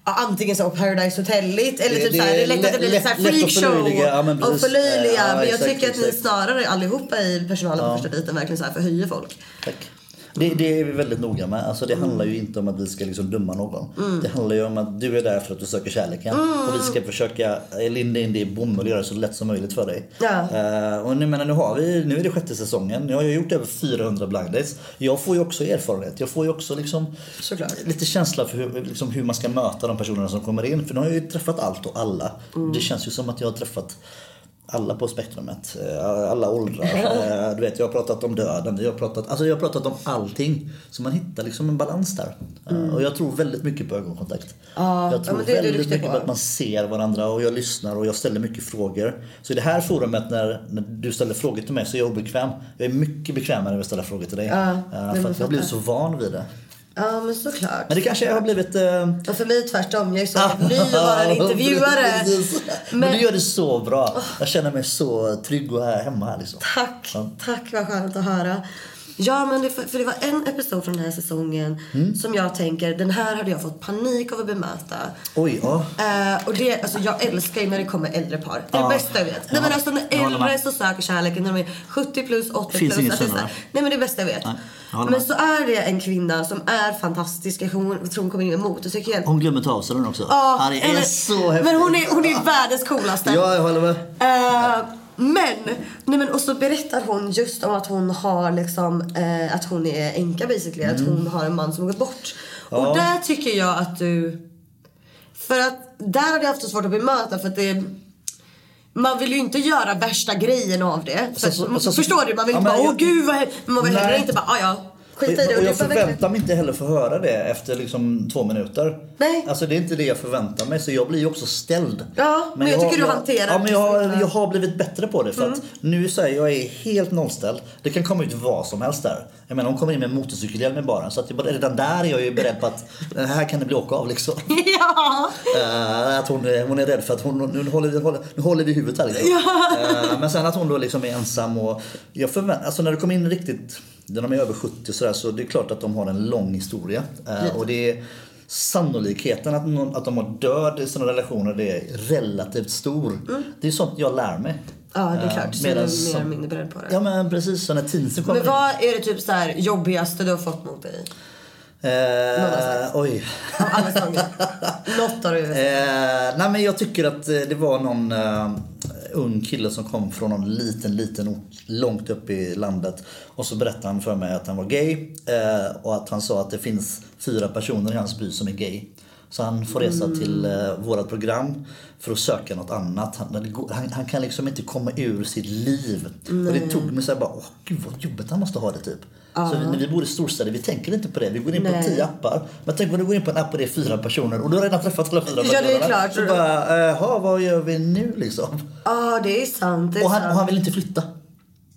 S1: Ja, antingen så Paradise Hotel-igt eller
S2: Det-
S1: typ så här,
S2: det
S1: det
S2: är
S1: är lätt att det blir
S2: lätt-
S1: lite så här
S2: lätt att
S1: freakshow
S2: förlöjliga. Ja, men
S1: och
S2: precis.
S1: förlöjliga.
S2: Ja,
S1: men jag
S2: exakt,
S1: tycker att
S2: exakt.
S1: ni snarare allihopa i personalen på första dejten verkligen så här förhöjer folk.
S2: tack. Det, det är vi väldigt noga med. Alltså, det
S1: Mm.
S2: handlar ju inte om att vi ska liksom döma någon. Det handlar ju om att du är där för att du söker kärleken.
S1: Mm.
S2: Och vi ska försöka eh, linda in det i bomull och göra det så lätt som möjligt för dig.
S1: Ja.
S2: Eh, och nu, menar, nu, har vi, nu är det sjätte säsongen. Jag har ju gjort över 400 blind dates. Jag får ju också erfarenhet. Jag får ju också liksom
S1: Såklart.
S2: lite känsla för hur, liksom hur man ska möta de personerna som kommer in. För nu har jag ju träffat allt och alla.
S1: Mm.
S2: Det känns ju som att jag har träffat alla på spektrumet, eh, alla åldrar. Eh, Du vet, jag har pratat om döden, jag har pratat, alltså jag har pratat om allting. Så man hittar liksom en balans där. Eh, Och jag tror väldigt mycket på ögonkontakt. jag tror
S1: Mm. men det är du
S2: väldigt
S1: duktig
S2: mycket på
S1: på.
S2: att man ser varandra och jag lyssnar och jag ställer mycket frågor. Så i det här forumet när, när du ställer frågor till mig så är jag obekväm. Jag är mycket bekvämare med att ställa frågor till dig. Eh,
S1: men
S2: för att jag har blivit så van vid det.
S1: Ja, men såklart.
S2: Men det kanske har blivit... Eh,
S1: Och för mig tvärtom. Jag är så ny att vara
S2: [LAUGHS]
S1: en intervjuare.
S2: Precis. Men...
S1: Men-
S2: du gör det så bra. Jag känner mig så trygg och här hemma. här, Liksom.
S1: Tack, tack vad skönt att höra. Ja, men det, för det var en episod från den här säsongen
S2: Mm.
S1: som jag tänker, den här hade jag fått panik av att bemöta.
S2: Oj, ja.
S1: Eh, och det, alltså jag älskar ju när det kommer äldre par. Det är
S2: Ja.
S1: det bästa jag vet. Nej,
S2: Ja.
S1: men alltså när
S2: Jag håller med.
S1: äldre som söker kärleken, när de är 70 plus, 80
S2: Finns
S1: plus.
S2: inget
S1: Alltså, det är så här-
S2: sämre.
S1: nej men det är det bästa jag vet.
S2: Nej, jag håller
S1: men
S2: med.
S1: så är det en kvinna som är fantastisk, jag tror hon kommer in med motorcykel.
S2: Hon glömmer ta av sig den också.
S1: Ja,
S2: Ja, det är
S1: eller-
S2: så häftigt.
S1: Men hon är, hon är världens coolaste.
S2: Ja, jag håller med.
S1: Eh, men, nej men, och så berättar hon just om att hon har liksom, eh, att hon är änka basically. Att hon har en man som har gått bort.
S2: Mm. Ja.
S1: Och där tycker jag att du, för att där hade jag haft så svårt att bemöta för att det man vill ju inte göra värsta grejen av det. För,
S2: så- och så-
S1: förstår du? Man vill
S2: Ja,
S1: inte
S2: men
S1: bara åh
S2: jag-
S1: gud vad he-" Men man vill
S2: Nej.
S1: heller inte bara "Ah, ja skit i det.
S2: Och
S1: det är
S2: jag
S1: så verkligen-
S2: förväntar mig inte heller få höra det efter liksom två minuter.
S1: Nej.
S2: Alltså det är inte det jag förväntar mig så jag blir ju också ställd.
S1: Ja, men jag tycker du
S2: har-
S1: hanterar
S2: Ja, men jag,
S1: det så Mm.
S2: har-
S1: bra.
S2: jag har blivit bättre på det för att nu så här, jag är helt nollställd. Det kan komma ut vad som helst där. Jag menar hon kommer in med en motorcykelhjälm i baren så att jag, bara- redan där är jag ju beredd på att det här kan det bli åka av liksom.
S1: [LAUGHS] ja.
S2: Eh, att hon, är- hon är rädd för att hon, nu, håller, nu, håller, nu håller vi huvudet här liksom. Eh, Men sen att hon då liksom är ensam och jag förväntar, alltså när det kommer in riktigt, när de är över 70 sådär så det är klart att de har en lång historia. Eh, Och det är Sannolikheten att, någon, att de har död i sina relationer det är relativt stor. Det är sånt jag lär mig.
S1: ja det är
S2: Eh,
S1: klart. Mm. Så är du
S2: medan
S1: mer eller
S2: som-
S1: mindre beredd på det.
S2: Ja men precis, så när teensen kommer
S1: Men vad är det typ så här jobbigaste du har fått mot dig?
S2: in. Eh, oj.
S1: Av alla sånger? Något har du...
S2: Eh, nej men jag tycker att eh, det var någon eh, ung kille som kom från någon liten, liten ort långt upp i landet. Och så berättade han för mig att han var gay eh, och att han sa att det finns fyra personer i hans by som är gay. Så han får resa till eh, vårat program för att söka något annat. Han, det går- han, han kan liksom inte komma ur sitt liv. Och det tog mig såhär bara, åh gud vad jobbigt han måste ha det typ. Så vi, när vi bor i storstäder, vi tänker inte på det. Vi går in på
S1: Nej.
S2: tio appar. Men tänk om du går in på en app och det är fyra personer och du har redan träffat alla fyra
S1: Ja, det är
S2: personerna.
S1: klart.
S2: Så bara, jaha vad gör vi nu liksom?
S1: Ja, det är sant. Det är
S2: Och han,
S1: sant.
S2: och han vill inte flytta.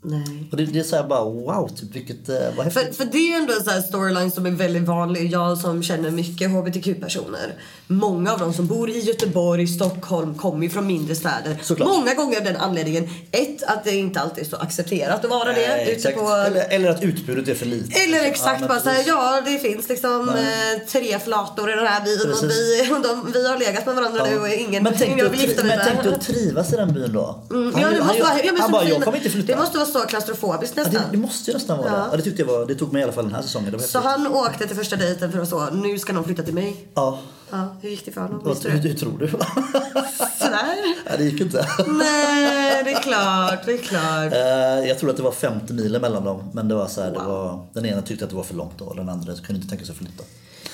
S1: Nej.
S2: Och det, det är såhär bara wow, typ vilket, eh, vad
S1: För,
S2: häftigt.
S1: för det är ändå en sån här storyline som är väldigt vanlig. Jag som känner mycket hbtq-personer. Många av dem som bor i Göteborg, Stockholm kommer ju från mindre städer.
S2: Såklart.
S1: Många gånger av den anledningen. Ett, att det inte alltid är så accepterat att vara
S2: Nej,
S1: det. Ute
S2: exakt.
S1: på...
S2: eller, eller att utbudet är för litet.
S1: Eller exakt
S2: men
S1: bara såhär,
S2: precis.
S1: ja det finns liksom eh, tre flator i den här byn och
S2: Precis.
S1: vi, [LAUGHS] och de, vi har legat med varandra nu och ingen,
S2: men tänk
S1: ingen
S2: dig
S1: vill gifta
S2: att-
S1: mig
S2: men
S1: med.
S2: tänk dig att trivas i den byn då.
S1: Mm,
S2: Han,
S1: ja, det
S2: han,
S1: måste vara- ja, men
S2: han
S1: som
S2: bara,
S1: du
S2: jag
S1: säger,
S2: kommer inte flytta.
S1: Det måste vara så klaustrofobiskt
S2: Ja, det, det
S1: nästan.
S2: måste ju nästan vara
S1: Ja.
S2: det. Ja, det tyckte jag var, det tog mig i alla fall den här säsongen. Det var
S1: Så
S2: häftigt.
S1: han åkte till första dejten för att så, nu ska någon flytta till mig.
S2: Ja,
S1: Ja, hur gick det för honom?
S2: vad,
S1: Visste
S2: hur,
S1: du?
S2: hur tror du? [LAUGHS]
S1: Sådär?
S2: ja, det gick inte.
S1: Nej, det är klart, det är klart.
S2: Eh, Jag tror att det var 50 mil mellan dem. Men det var så här, det var, den ena tyckte att det var för långt och den andra kunde inte tänka sig att flytta.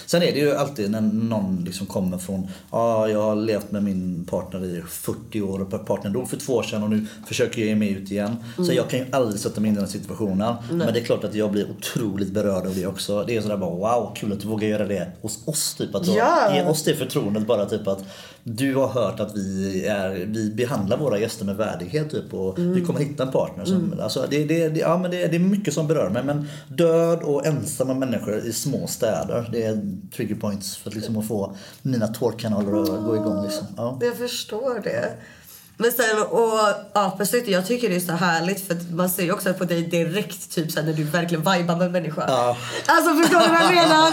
S2: Sen är det ju alltid när någon liksom kommer från, ja jag har levt med min partner i 40 år och partnern dog för två år sedan och nu försöker jag ge mig ut igen. Så jag kan ju aldrig sätta mig in i den situationen. Men det är klart att jag blir otroligt berörd av det också. Det är sådär bara wow, kul att du vågar göra det hos oss. Typ, att då,
S1: Ja.
S2: ge oss det förtroendet bara typ att du har hört att vi, är, vi behandlar våra gäster med värdighet typ, och vi
S1: Mm.
S2: kommer hitta en partner. Som, alltså, det, det, det, ja, men det, det är mycket som berör mig men död och ensamma människor i små städer det är trigger points för att, liksom, att få mina tårkanaler att gå igång. Liksom. Ja.
S1: Jag förstår det. Men sen, och apelsylt, jag tycker det är så härligt för att man ser ju också på dig direkt typ så här, när du verkligen vibar med en människa.
S2: Ja.
S1: Alltså förstår du vad jag
S2: [LAUGHS]
S1: menar?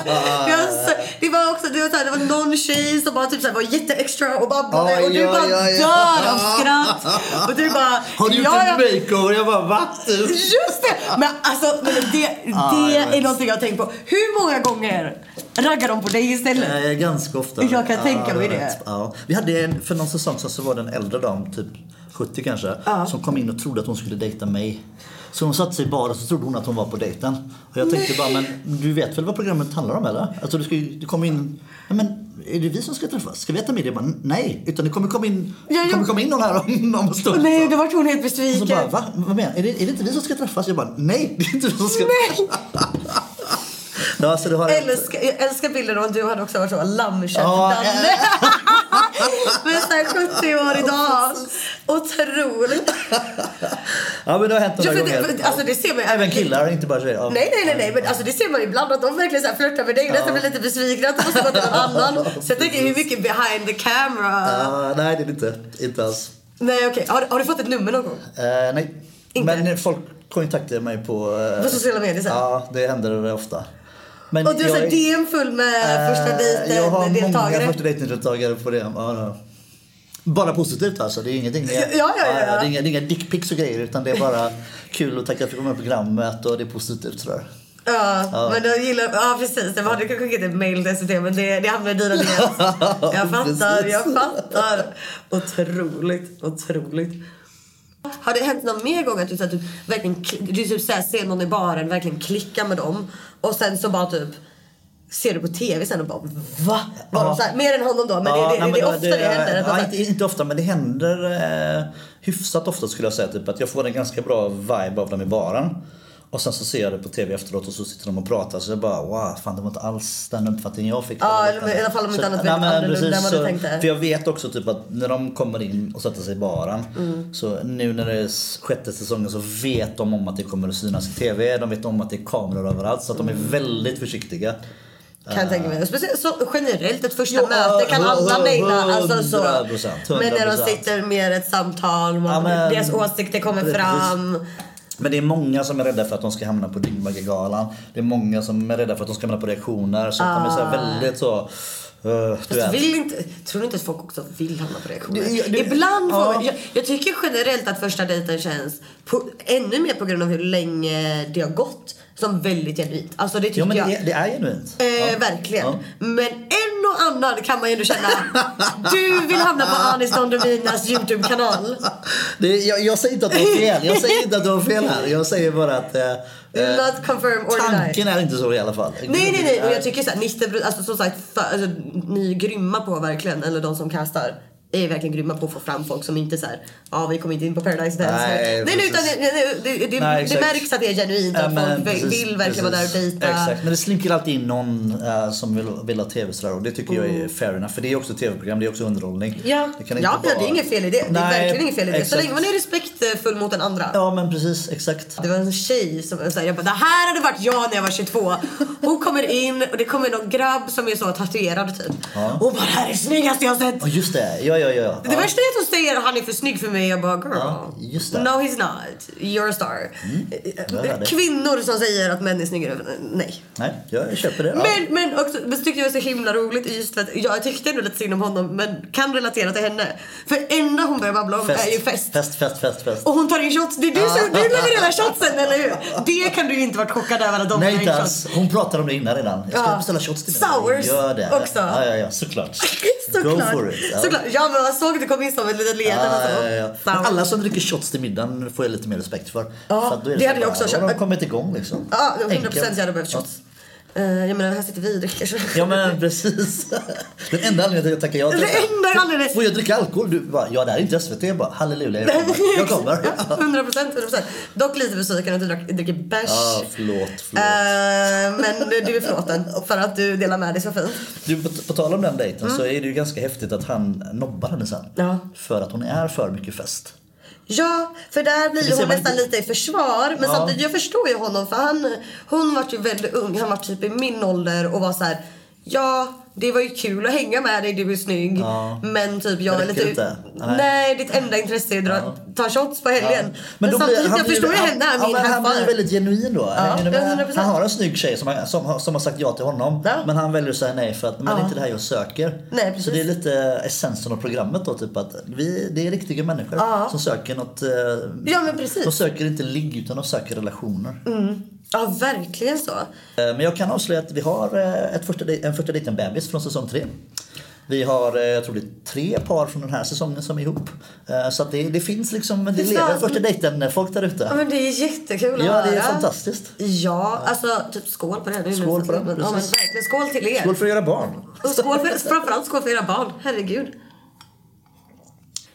S1: Jag, så- det var också, det var, så här, det var någon tjej som bara typ så här, var jätteextra och babblade
S2: Ja,
S1: och du
S2: ja,
S1: bara
S2: ja, ja.
S1: dör av
S2: [LAUGHS]
S1: skratt. Och du bara,
S2: Har du gjort
S1: "Ja,
S2: en
S1: ja."
S2: makeover? Jag bara va?
S1: Just det! Men alltså men det,
S2: [LAUGHS] Ja,
S1: det
S2: jag vet.
S1: är någonting jag har tänkt på. Hur många gånger raggar de på dig istället?
S2: Eh, ganska ofta.
S1: Jag kan tänka mig
S2: jag
S1: det.
S2: vet. Ja. Vi hade en, för någon säsong sedan så var det en äldre dam, typ 70 kanske, som kom in och trodde att hon skulle dejta mig. Så hon satte sig i baren och så trodde hon att hon var på dejten. Och jag tänkte bara, men du vet väl vad programmet handlar om eller? Alltså du, ska, ju- du kommer in, ja, men är det vi som ska träffas? Ska vi äta middag? Jag bara, nej, utan det kommer komma in,
S1: Ja, ja.
S2: Kommer komma in någon här om, om en stund.
S1: Nej, då vart hon helt
S2: alltså. Så
S1: besviken.
S2: bara, va? Vad menar du? Är det, är det inte vi som ska träffas? Jag bara, nej, det är inte vi som ska
S1: Nej.
S2: träffas. ja, så det har
S1: Jag
S2: jag-
S1: älskar, jag älskar bilden om du hade också varit så lammkött-Danne. [LAUGHS]
S2: Ja,
S1: Men såhär 70 år idag. Otroligt.
S2: Ja men det har hänt några
S1: Ja, för det-
S2: gånger.
S1: för det- alltså, det ser man-
S2: Även killar, inte bara tjejer. Ja.
S1: Nej, nej, nej, nej. Men alltså, det ser man ju ibland att de verkligen så här flörtar med dig. Nästan blir lite besvikna att de måste gå till någon
S2: [LAUGHS]
S1: annan. Så jag tänker hur mycket behind the camera.
S2: Ja, Ah, nej det är det inte. Inte alls.
S1: Nej, okej. Har, har du fått ett nummer någon gång?
S2: Eh, nej.
S1: Inte?
S2: Men folk kontaktar mig på... eh,
S1: På sociala medier sen?
S2: Ja, det händer ofta. Men
S1: Och du har
S2: jag
S1: såhär
S2: är-
S1: DM full med första
S2: eh, Jag har många
S1: dejten-deltagare.
S2: första dejten-deltagare på det. Ja, ja. Bara positivt alltså, det är ingenting.
S1: [LAUGHS] Ja, ja, ja, ja.
S2: Det är inga, det är inga dickpics och grejer utan det är bara kul att tacka för att du kom med i programmet och det är positivt sådär.
S1: Ja, men jag gillar... Ja, precis. Jag hade kunnat skicka ett mail dessutom, men det, det hamnar i dina
S2: [LAUGHS]
S1: DMs. Jag fattar,
S2: Precis.
S1: jag fattar. Otroligt, otroligt. Har det hänt någon mer gång att du, så att du verkligen kli- du typ så här, ser någon i baren, verkligen klickar med dem och sen så bara typ ser du på tv sen och bara va? Var de så här, mer än honom då, men
S2: Ja,
S1: det, det,
S2: nej,
S1: det, det är
S2: men
S1: ofta det, händer. Att man så
S2: Ja, inte,
S1: här,
S2: inte ofta, men det händer eh, hyfsat ofta skulle jag säga. Typ, att jag får en ganska bra vibe av dem i baren. Och sen så ser jag det på tv efteråt och så sitter de och pratar så jag bara wow, fan det var inte alls den uppfattningen jag fick.
S1: Ja,
S2: Eller liknande.
S1: i alla fall om inte
S2: Så-
S1: annat
S2: nej,
S1: väldigt
S2: men
S1: annorlunda
S2: precis,
S1: än vad du
S2: så-
S1: tänkte.
S2: För jag vet också typ att när de kommer in och sätter sig i baren
S1: Mm.
S2: så nu när det är s- sjätte säsongen så vet de om att det kommer att synas i tv. De vet om att det är kameror överallt så att de är väldigt försiktiga.
S1: Kan jag tänka mig. Och Speciellt så generellt ett första
S2: Eh. Ja,
S1: möte kan alla naila. Alltså så.
S2: 100%, 100%.
S1: Men när de sitter mer ett samtal, man,
S2: Ja, men-
S1: deras åsikter kommer
S2: Precis.
S1: fram.
S2: Men det är många som är rädda för att de ska hamna på Dyngbaggegalan. Det är många som är rädda för att de ska hamna på reaktioner. Så att de är så här väldigt så... eh, du
S1: Ah. Fast
S2: vet.
S1: Vill inte, tror du inte att folk också vill hamna på reaktioner?
S2: Du- du-
S1: Ibland
S2: Ja.
S1: får, jag, jag tycker generellt att första dejten känns på, ännu mer på grund av hur länge det har gått som väldigt genuint. Alltså det tycker
S2: Jo men
S1: jag.
S2: det, det är genuint.
S1: Eh,
S2: Ja.
S1: Verkligen.
S2: Ja.
S1: Men en och annan kan man ju ändå
S2: [LAUGHS]
S1: känna. du vill hamna på Anis Don Deminas Youtube-kanal.
S2: Det, är- jag, jag säger inte att du har fel. Jag säger inte att du har fel här. Jag säger bara att... eh, eh,
S1: Not confirm or deny.
S2: tanken är inte så i alla fall.
S1: Nej, nej, nej. Och jag tycker såhär, 90 alltså som sagt, för, alltså, ni är grymma på verkligen, eller de som kastar, är verkligen grymma på att få fram folk som inte såhär, ja vi kommer inte in på Paradise Dance. nej,
S2: Nej,
S1: nej,
S2: precis.
S1: utan det, det, det, det,
S2: Nej,
S1: det
S2: exakt.
S1: märks att det är genuint,
S2: Ja,
S1: att
S2: Eh, men
S1: folk
S2: precis,
S1: vill verkligen vara där och
S2: precis.
S1: dejta.
S2: Exakt, men det slinker alltid in någon eh, som vill, vill ha tv sådär och det tycker jag är fair enough. För det är också ett tv-program, det är också underhållning.
S1: Mm. Ja,
S2: det kan inte
S1: ja, ja, det är
S2: vara-
S1: inget fel i det. det är
S2: Nej,
S1: verkligen inget fel i det. Så
S2: exakt.
S1: länge man är respektfull mot den andra.
S2: Ja men precis, exakt.
S1: Det var en tjej som sa jag bara, det här hade varit jag när jag var 22. Hon kommer in och det kommer någon grabb som är så tatuerad typ.
S2: Ja.
S1: Hon bara, det här är det snyggaste jag har sett.
S2: Ja just det, ja ja ja.
S1: Det
S2: ja.
S1: värsta är att hon säger att han är för snygg för mig. Jag bara girl.
S2: Ja, just det. Mm.
S1: No he's not. You're a star. Eh,
S2: jag hörde.
S1: Kvinnor som säger att män är snyggare. Nej.
S2: Nej, jag köper det. Ja.
S1: Men, men också, men så tyckte jag det var så himla roligt just för att jag tyckte ändå lite synd om honom men kan relatera till henne. För enda hon börjar babbla om är ju fest.
S2: Fest, fest, fest, fest.
S1: Och hon tar in shots. Det är du som, du levererar shotsen eller hur? Det kan du ju inte varit chockad över att de
S2: Nej inte
S1: levererar shots.
S2: alls. Hon pratade om det innan redan. Jag ska
S1: Ja.
S2: beställa shots till mig.
S1: Sours
S2: Gör det.
S1: också.
S2: Ja, ja, ja, såklart.
S1: [LAUGHS] Såklart.
S2: Go for it. Ja.
S1: Såklart. Ja men jag såg att det kom in som ett litet leende.
S2: Ja,
S1: alltså.
S2: ja, ja. Men
S1: Sour.
S2: Alla som dricker shots till middagen får jag lite mer respekt för.
S1: Ja,
S2: för att då är
S1: det
S2: så
S1: hade jag
S2: här,
S1: också
S2: "Ja,
S1: köpt."
S2: De har kommit igång liksom.
S1: Ja, 100
S2: Enkelt.
S1: procent jag hade behövt shots. Eh, jag menar, här sitter vi och dricker. så-
S2: Ja men precis. [LAUGHS] Den enda anledningen till att jag tackar ja till
S1: Det
S2: detta.
S1: enda
S2: Får-
S1: anledningen-
S2: Får jag dricka alkohol? Du bara, ja det här är inte SVT. Jag bara, halleluja jag kommer.
S1: [LAUGHS]
S2: Jag kommer.
S1: Ja, 100 procent, 100 procent. Dock lite besviken att du drack- dricker bärs.
S2: Ah, förlåt, förlåt.
S1: Eh, men du är förlåten för att du delar med dig så fint.
S2: Du, på, på tal om den dejten så är det ju ganska häftigt att han nobbar henne sen.
S1: Ja.
S2: För att hon är för mycket fest.
S1: Ja, för där blir
S2: Det
S1: ju
S2: ser
S1: hon
S2: man
S1: nästan
S2: inte.
S1: lite i försvar. Men
S2: Ja.
S1: samtidigt, jag förstår ju honom för han, hon var ju väldigt ung. Han var typ i min ålder och var så här. Ja, det var ju kul att hänga med dig, du är snygg.
S2: Ja.
S1: Men typ jag är
S2: Det räcker
S1: lite...
S2: inte. Nej.
S1: Nej. ditt enda intresse är att dra, ta shots på helgen. Men,
S2: då blir-
S1: samtidigt,
S2: han
S1: jag
S2: blir-
S1: förstår ju
S2: han-
S1: henne. I
S2: ja,
S1: mean,
S2: men
S1: high
S2: Han blir
S1: five.
S2: väldigt genuin då. Hänger du med?
S1: 100%.
S2: han har en snygg tjej som, har- som, har- som har sagt ja till honom.
S1: Ja.
S2: Men han väljer att säga nej för att men det är inte det här jag söker.
S1: Nej, precis.
S2: så det är lite essensen av programmet då. Typ att vi, det är riktiga människor som söker något. eh,
S1: Ja, men precis.
S2: De söker inte ligg utan de söker relationer.
S1: Ja, verkligen så.
S2: Eh, Men jag kan avslöja att vi har eh, ett första, dej- en första dejten bebis från säsong tre. Vi har, eh, jag tror det är tre par från den här säsongen som är ihop. Eh, Så att det, det finns liksom, det
S1: Fy
S2: lever
S1: fan.
S2: första dejten-folk där ute.
S1: Ja, men det är jättekul att
S2: Ja, det är
S1: höra.
S2: fantastiskt.
S1: Ja, alltså typ skål på det nu.
S2: Skål på det,
S1: Ja, men
S2: precis.
S1: verkligen skål till er.
S2: Skål för att göra barn.
S1: Och skål för, framförallt skål för era barn. Herregud.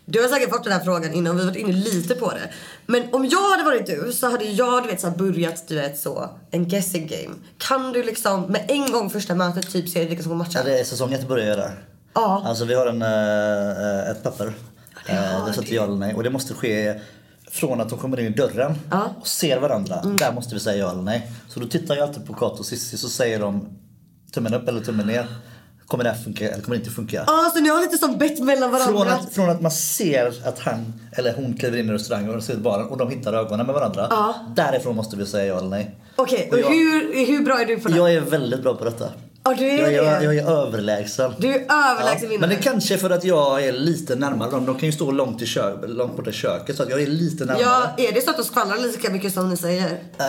S1: Du har säkert fått den här frågan innan, vi har varit inne lite på det. Men om jag hade varit du så hade jag du vet, så här börjat du vet, så, en guessing game. Kan du liksom med en gång första mötet typ se vilka som kommer matcha?
S2: Ja, det är säsong ett börjar göra.
S1: Ja.
S2: Alltså vi har en, eh, ett papper.
S1: det har
S2: Eh, Där sätter vi ja eller nej. Och det måste ske från att de kommer in i dörren
S1: Ja. Mm.
S2: och ser varandra. Där måste vi säga ja eller nej. Så då tittar jag alltid på Kato och Cissi så säger de tummen upp eller tummen ner. Kommer det här funka eller kommer det inte funka?
S1: Ja, så ni har lite som bett mellan varandra.
S2: Från att, från att man ser att han eller hon kliver in i restaurangen och ser baren och de hittar ögonen med varandra.
S1: Ja.
S2: Därifrån måste vi säga ja eller nej.
S1: Okej,
S2: Och jag-
S1: och hur, hur bra är du på det?
S2: Jag är väldigt bra på detta.
S1: Ja, du är
S2: jag, jag,
S1: det.
S2: jag är överlägsen.
S1: Du är överlägsen
S2: Ja, men
S1: vinnare.
S2: det kanske är för att jag är lite närmare dem. De kan ju stå långt, i kö, långt borta i köket så att jag är lite närmare.
S1: Ja, är det så att de skvallrar lika mycket som ni säger?
S2: Äh,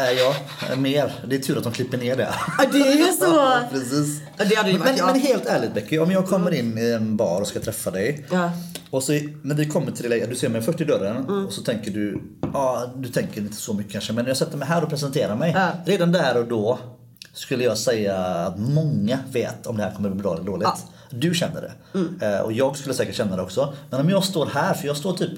S2: ja, mer. Det är tur att de klipper ner det.
S1: Ja, det är så.
S2: [LAUGHS] Ja, precis.
S1: Ja, det hade ju
S2: men,
S1: varit
S2: men,
S1: jag.
S2: men helt ärligt Becky, om jag kommer in i en bar och ska träffa dig.
S1: Ja.
S2: Och så när vi kommer till det läget, du ser mig först i dörren
S1: Mm.
S2: och så tänker du, ja du tänker inte så mycket kanske men jag sätter mig här och presenterar mig.
S1: Ja.
S2: Redan där och då skulle jag säga att många vet om det här kommer bli bra eller dåligt.
S1: Ja. Mm.
S2: Du känner det. Eh, Och jag skulle säkert känna det också. Men om jag står här, för jag står typ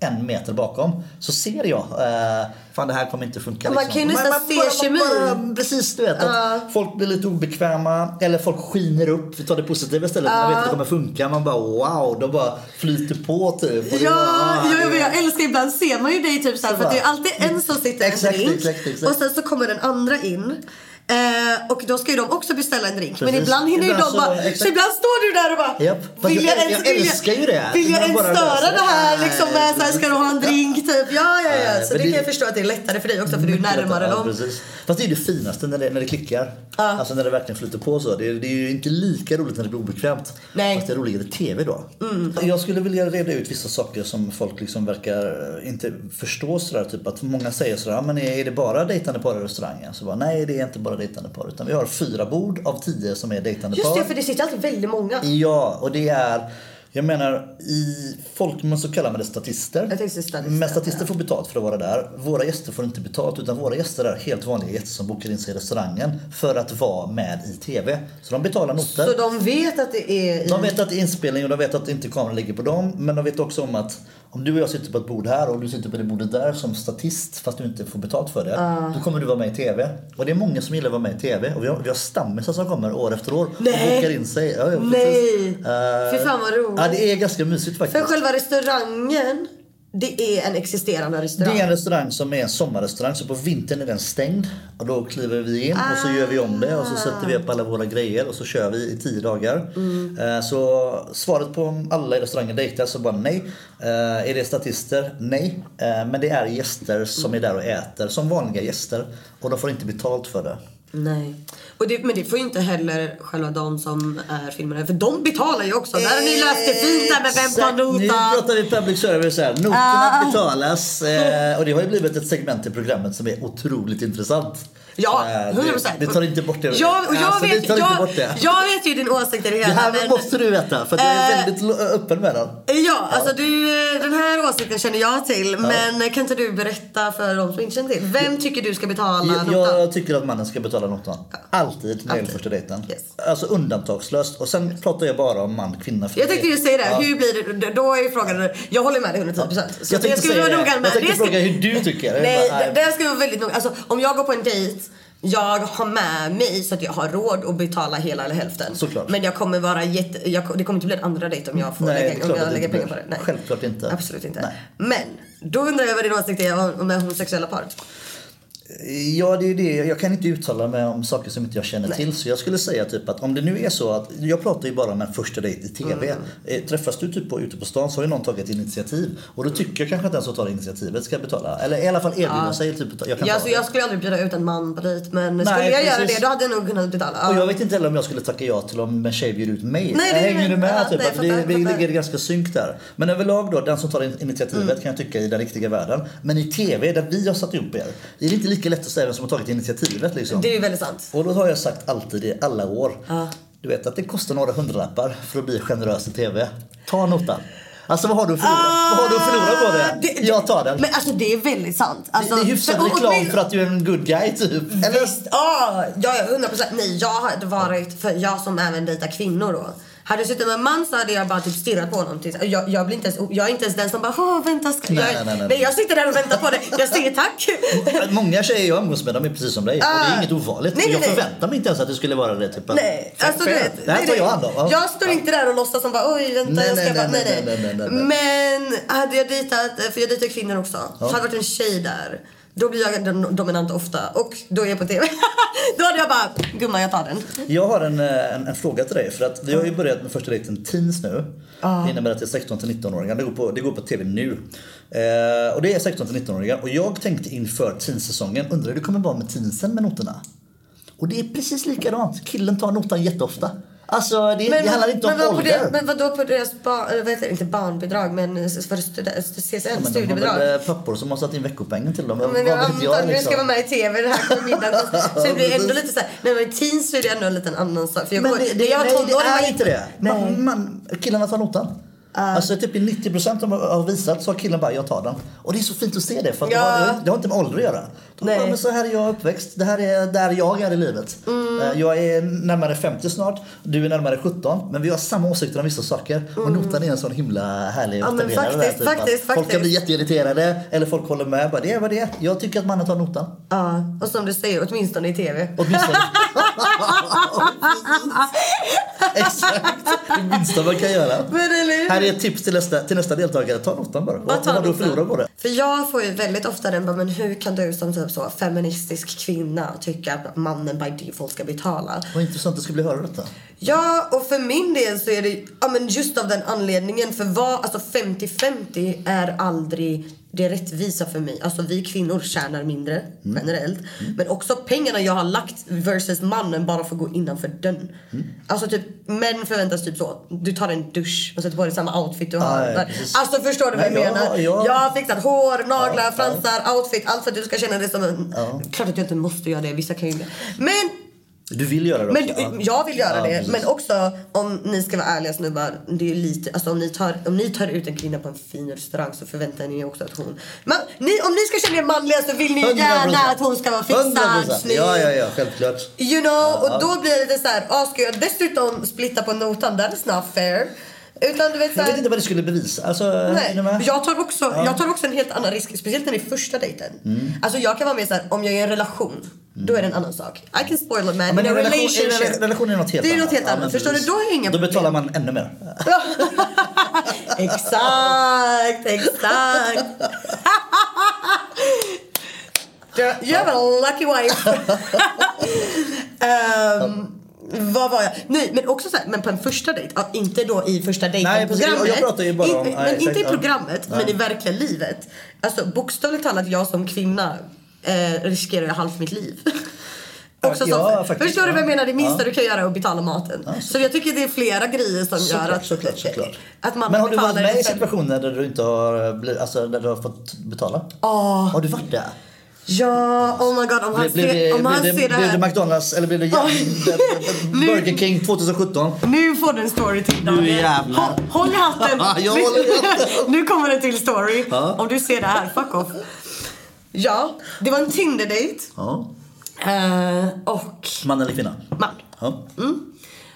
S2: eh, en meter bakom, så ser jag, eh, fan det här kommer inte funka. liksom.
S1: Ja, man kan ju nästan se kemin.
S2: Precis, du vet. Att Folk blir lite obekväma eller folk skiner upp. Vi tar det positiva istället. Man vet att det kommer funka. Man bara wow, de bara flyter på typ. Och det
S1: Ja,
S2: bara,
S1: ja, ja,
S2: det-
S1: men jag älskar ibland ser man ju dig typ såhär
S2: Så
S1: för att det är
S2: bara-
S1: alltid en som sitter i en
S2: Exakt,
S1: drink
S2: exakt, exakt.
S1: och sen så kommer den andra in. Eh, och då ska ju de också beställa en drink. Men
S2: Precis.
S1: ibland hinner ju
S2: Ibland
S1: de
S2: så-
S1: bara...
S2: exakt.
S1: Så ibland står du där och bara...
S2: Japp. Fast
S1: Vill
S2: jag-
S1: jag,
S2: jag
S1: ens, vill
S2: älskar ju det.
S1: Vill
S2: Man
S1: jag ens
S2: bara löser
S1: störa
S2: det.
S1: det här
S2: Nej,
S1: liksom med såhär, ska du ha en
S2: precis.
S1: drink typ? Ja, ja, ja.
S2: Nej,
S1: Så det
S2: men det-
S1: kan jag förstå att det är lättare för dig också för du är
S2: Mycket
S1: närmare
S2: lättare.
S1: dem.
S2: Ja, precis. Fast det är ju det finaste när det, när det klickar. Alltså när det verkligen flyter på så. Det, är- det är ju inte lika roligt när det blir obekvämt.
S1: Nej. Mm,
S2: Fast det är roligare TV då. Jag skulle vilja reda ut vissa saker som folk liksom verkar eh, inte förstå sådär. Typ att många säger sådär, "Ja, men är är det bara dejtande par i restaurangen? Så bara, nej det är inte bara dejtande par. Utan vi har fyra bord av tio som är dejtande
S1: Just
S2: par.
S1: det, för det sitter alltid väldigt många.
S2: Ja, och det är jag menar, i folkmun så kallar man det statister.
S1: Jag tänkte statister,
S2: Men statister får betalt för att vara där. Våra gäster får inte betalt utan våra gäster är helt vanliga gäster som bokar in sig i restaurangen för att vara med i TV. Så de betalar noter.
S1: Så de vet att det är... i-
S2: De vet att det är inspelning och de vet att inte kameran ligger på dem. Men de vet också om att om du och jag sitter på ett bord här och du sitter på det bordet där som statist fast du inte får betalt för det.
S1: Ah.
S2: Då kommer du vara med i TV. Och det är många som gillar att vara med i TV. Och vi har, vi har stammisar som kommer år efter år och
S1: Nej.
S2: bokar in sig. Ja, ja, precis.
S1: Nej.
S2: Eh,
S1: Fy fan vad roligt.
S2: Ja, det är ganska mysigt faktiskt.
S1: För själva restaurangen, det är en existerande restaurang.
S2: Det är en restaurang som är en sommarrestaurang så på vintern är den stängd. Och då kliver vi in och så gör vi om det och så sätter vi upp alla våra grejer och så kör vi i tio dagar. Eh, Så svaret på om alla i restaurangen dejtar så bara nej. Eh, Är det statister? Nej. Eh, Men det är gäster som är där och äter som vanliga gäster och de får inte betalt för det.
S1: Nej. Och det, men det får ju inte heller själva de som är filmare, för de betalar ju också. Där har ni löst det fint där med vem tar
S2: Exakt. Nu
S1: notan. Ah.
S2: pratar vi public service här. Noterna betalas eh, och det har ju blivit ett segment i programmet som är otroligt intressant.
S1: Ja,
S2: Eh,
S1: 100
S2: det, det tar inte bort det.
S1: Jag, och jag,
S2: Alltså,
S1: vet,
S2: det tar
S1: jag,
S2: inte bort det.
S1: jag vet ju din åsikt i det
S2: det
S1: hela.
S2: här
S1: men-
S2: måste du veta för att jag är
S1: Eh,
S2: väldigt lo- öppen med den.
S1: Ja, alltså du, den här åsikten känner jag till. Men kan inte du berätta för de som inte känner till? Vem tycker du ska betala
S2: Jag,
S1: notan?
S2: jag tycker att mannen ska betala notan. Alltid när det gäller
S1: Alltid.
S2: första dejten.
S1: Yes.
S2: Alltså undantagslöst. Och sen pratar jag bara om man, kvinna, för
S1: Jag tänkte ju säga det,
S2: Ja.
S1: hur blir det? Då är ju frågan, jag håller med dig 110%. Så
S2: Jag
S1: det
S2: tänkte
S1: ska vi vara
S2: säga det.
S1: noga med.
S2: Jag tänkte
S1: Det ska-
S2: fråga hur du tycker. Jag
S1: Nej,
S2: bara, nej.
S1: det, det ska vi vara väldigt noga. Alltså, om jag går på en dejt, jag har med mig så att jag har råd att betala hela eller hälften.
S2: Såklart.
S1: Men jag kommer vara jätte... Jag, det kommer inte bli en andra dejt om jag får
S2: Nej, det är
S1: lägga,
S2: klart
S1: om
S2: att det
S1: jag lägger
S2: inte
S1: pengar på
S2: blir.
S1: det. Nej.
S2: Självklart inte.
S1: Absolut inte.
S2: Nej.
S1: Men, då undrar jag vad din åsikt är om, om homosexuella par.
S2: Ja, det är ju det. Jag kan inte uttala mig om saker som inte jag känner till. Så jag skulle säga typ att om det nu är så att, jag pratar ju bara om en första dejt i TV.
S1: Mm.
S2: Eh, Träffas du typ på, ute på stan så har ju någon tagit initiativ. Och då tycker jag kanske att den som tar initiativet ska betala. Eller i alla fall erbjuda sig. Typ, jag kan
S1: Mm. Ja,
S2: ta
S1: alltså,
S2: det.
S1: jag skulle aldrig bjuda ut en man på dejt men skulle jag göra
S2: precis.
S1: det då hade jag nog kunnat betala. Ja.
S2: Och jag vet inte heller om jag skulle tacka ja till om en tjej bjöd ut mig.
S1: Nej, det är
S2: Hänger
S1: det.
S2: du med?
S1: Ja,
S2: typ,
S1: nej,
S2: att
S1: jag fattar,
S2: vi, vi
S1: jag fattar. Mm.
S2: ligger ganska synk där. Men överlag då, den som tar in- initiativet kan jag tycka i den riktiga världen. Men i TV, där vi har satt ihop er, det är inte lika lätt att säga vem som har tagit initiativet liksom.
S1: Det är ju väldigt sant.
S2: Och då har jag sagt alltid i alla år. Du vet att det kostar några hundralappar för att bli generös i TV. Ta notan. Alltså vad har du att förlora? Vad har du att förlora på det?
S1: Ah, Det- det-
S2: jag tar den.
S1: Men alltså det är väldigt sant. Alltså,
S2: det är hyfsad
S1: och- och-
S2: reklam för att du är en good guy typ. Eller?
S1: Visst, ah, ja, ja, 100 procent. Nej, jag hade varit, för jag som även dejtar kvinnor då. Hade jag suttit med en man så hade jag bara typ stirrat på honom. tills- Jag, jag, blir inte ens, jag är inte ens den som bara "Åh, vänta ska
S2: Nej,
S1: jag...
S2: nej, nej, nej.
S1: jag sitter där och väntar på det. Jag säger
S2: [LAUGHS]
S1: tack.
S2: Många tjejer jag umgås med de är precis som dig. och det är
S1: Ah.
S2: inget ovanligt.
S1: Nej,
S2: jag
S1: nej, nej.
S2: förväntar mig inte ens att det skulle vara det. Typ, att-
S1: Nej,
S2: Fan,
S1: alltså du
S2: fan,
S1: vet.
S2: Det här
S1: nej,
S2: tar
S1: nej.
S2: jag hand om. Ja.
S1: Jag står inte där och låtsas som bara oj vänta
S2: Nej,
S1: jag ska
S2: nej,
S1: bara,
S2: nej,
S1: nej, nej.
S2: nej, nej, nej, nej,
S1: Men hade jag dejtat, för jag dejtar kvinnor också. Så hade det varit en tjej där. Då blir jag den dominant ofta och då är jag på TV. [LAUGHS] då hade jag bara, gumman jag tar den.
S2: Jag har en, eh, en, en fråga till dig. För att vi har ju börjat med första dejten teens nu. Det innebär att det är 16 till 19-åringar. Det, går på- det går på TV nu. Eh, och det är 16 till 19-åringar. Och jag tänkte inför teens-säsongen, undrar hur det kommer vara med teensen med noterna? Och det är precis likadant. Killen tar notan jätteofta. Alltså det, det handlar inte
S1: men, vad
S2: om
S1: på
S2: ålder.
S1: det- men vadå på deras barn, eller vad heter det, inte barnbidrag men eh, för stud- CSN,
S2: Men de har
S1: studiebidrag.
S2: väl eh, pappor som har satt in veckopengen till dem.
S1: Men jag
S2: Vad vet jag
S1: antar du
S2: liksom?
S1: ska vara med i TV det här på
S2: [LAUGHS]
S1: middagen. Så det blir ändå lite såhär, nej men i teens så är det ändå en liten annan sak. För jag
S2: Men
S1: går,
S2: det,
S1: när
S2: det,
S1: jag var
S2: nej,
S1: tonåring
S2: det
S1: var
S2: är
S1: jag
S2: inte det.
S1: Nej.
S2: Man, man, killarna tar notan. Alltså typ i 90% av, av visat så har killen bara jag tar den. Och det är så fint att se det för att
S1: Ja.
S2: det, har, det har inte med ålder att göra. De
S1: Nej.
S2: Bara, men så här är jag uppväxt, det här är där jag är i livet.
S1: Mm.
S2: Eh, Jag är närmare 50 snart, du är närmare 17 men vi har samma åsikter om vissa saker. Och notan är en sån himla härlig
S1: Mm. men
S2: återdelare där,
S1: faktiskt,
S2: typ, att
S1: faktiskt,
S2: Folk kan
S1: faktiskt.
S2: bli jätteirriterade eller folk håller med. Bara, det är vad det är. Jag tycker att mannen tar notan.
S1: Ja, och som du säger, åtminstone i TV.
S2: Åtminstone. [LAUGHS] Exakt. Det minsta man kan göra.
S1: Men eller hur?
S2: Här är ett tips till nästa, till nästa deltagare. Ta notan bara.
S1: Bara
S2: Vad
S1: ta
S2: vad har du att
S1: notan.
S2: förlora på det?
S1: För jag får ju väldigt ofta den bara, men hur kan du som typ så feministisk kvinna tycka att mannen by default ska betala?
S2: Vad intressant det skulle bli att höra detta.
S1: Ja, och för min del så är det ja, men just av den anledningen. För vad, alltså 50-50 är aldrig det rättvisa för mig. Alltså vi kvinnor tjänar mindre
S2: Mm.
S1: generellt. Men också pengarna jag har lagt versus mannen bara får gå innanför dörren.
S2: Mm.
S1: Alltså typ, män förväntas typ så. Du tar en dusch och sätter på dig samma outfit du har.
S2: Nej, precis.
S1: alltså förstår du vad jag
S2: Nej, jag-
S1: menar?
S2: jag-
S1: Jag har fixat hår, naglar,
S2: Ja, ja.
S1: fransar, outfit. Allt för att du ska känna dig som en... Klart att jag inte måste göra det. Vissa kan ju inte. Men
S2: Du vill göra det
S1: men
S2: också,
S1: du-
S2: ja.
S1: jag vill göra
S2: Ja,
S1: det.
S2: precis.
S1: Men också om ni ska vara ärliga snubbar. Det är lite, alltså om, ni tar, om ni tar ut en kvinna på en fin restaurang så förväntar ni er också att hon... Men, ni, om ni ska känna er manliga så vill ni ju
S2: 100%.
S1: gärna att hon ska vara fixad,
S2: 100%.
S1: snygg.
S2: Ja, ja, ja. Självklart.
S1: You know, och då blir det lite så här, ah, ska jag dessutom splitta på notan? That is not fair. Utan du vet så
S2: Jag vet
S1: här,
S2: inte vad det skulle bevisa. Alltså, är
S1: Nej,
S2: ni med?
S1: jag tar, också, jag tar också en helt annan risk, speciellt när det är första dejten.
S2: Mm.
S1: Alltså jag kan vara med så här, om jag är i en relation, då är det en annan sak. I can spoil a man
S2: Men
S1: in a
S2: en relation,
S1: relationship.
S2: en rela- relation är något helt
S1: Det är
S2: annat.
S1: något helt
S2: Ja, men
S1: annat. Förstår du?
S2: precis.
S1: Då är det inga
S2: Då
S1: problem.
S2: betalar man ännu mer.
S1: [LAUGHS] exakt, exakt. Du- You have a lucky
S2: [LAUGHS]
S1: wife. Ehm, vad var jag? Nej, men också så här, men på en första dejt. Ja, inte då i första
S2: Nej, precis.
S1: dejten-programmet.
S2: Jag pratar ju bara om-
S1: Inte-
S2: ja,
S1: men
S2: exakt,
S1: inte i
S2: ja.
S1: programmet,
S2: Nej.
S1: men i verkliga livet. Alltså bokstavligt talat, jag som kvinna eh, riskerar ju halvt mitt liv. Också
S2: Ja,
S1: sånt.
S2: faktiskt,
S1: Förstår du vad jag
S2: ja.
S1: menar? Det minsta
S2: Ja.
S1: du kan göra är att betala maten. så jag tycker det är flera grejer som gör
S2: Såklart,
S1: att,
S2: såklart, såklart.
S1: att man
S2: Men har du varit
S1: betalar
S2: med i
S1: för-
S2: situationer där du inte har, blivit, alltså, där du har fått betala?
S1: Ja.
S2: Har du varit där?
S1: Ah, Ja, oh my god om han
S2: Blev, blev,
S1: ser,
S2: det,
S1: om han
S2: blev, det,
S1: ser det här.
S2: blev det McDonalds eller blev det
S1: [LAUGHS] Nu-
S2: Burger King 2017?
S1: Nu får du en story till Daniel.
S2: jävlar.
S1: Hå- Håll i
S2: [LAUGHS]
S1: hatten.
S2: Jag håller i hatten.
S1: [LAUGHS] nu kommer en till story.
S2: Ja.
S1: Om du ser det här, fuck off. Ja, det var en Tinder-dejt.
S2: Ja.
S1: Eh, och
S2: Man eller kvinna?
S1: man.
S2: Ja.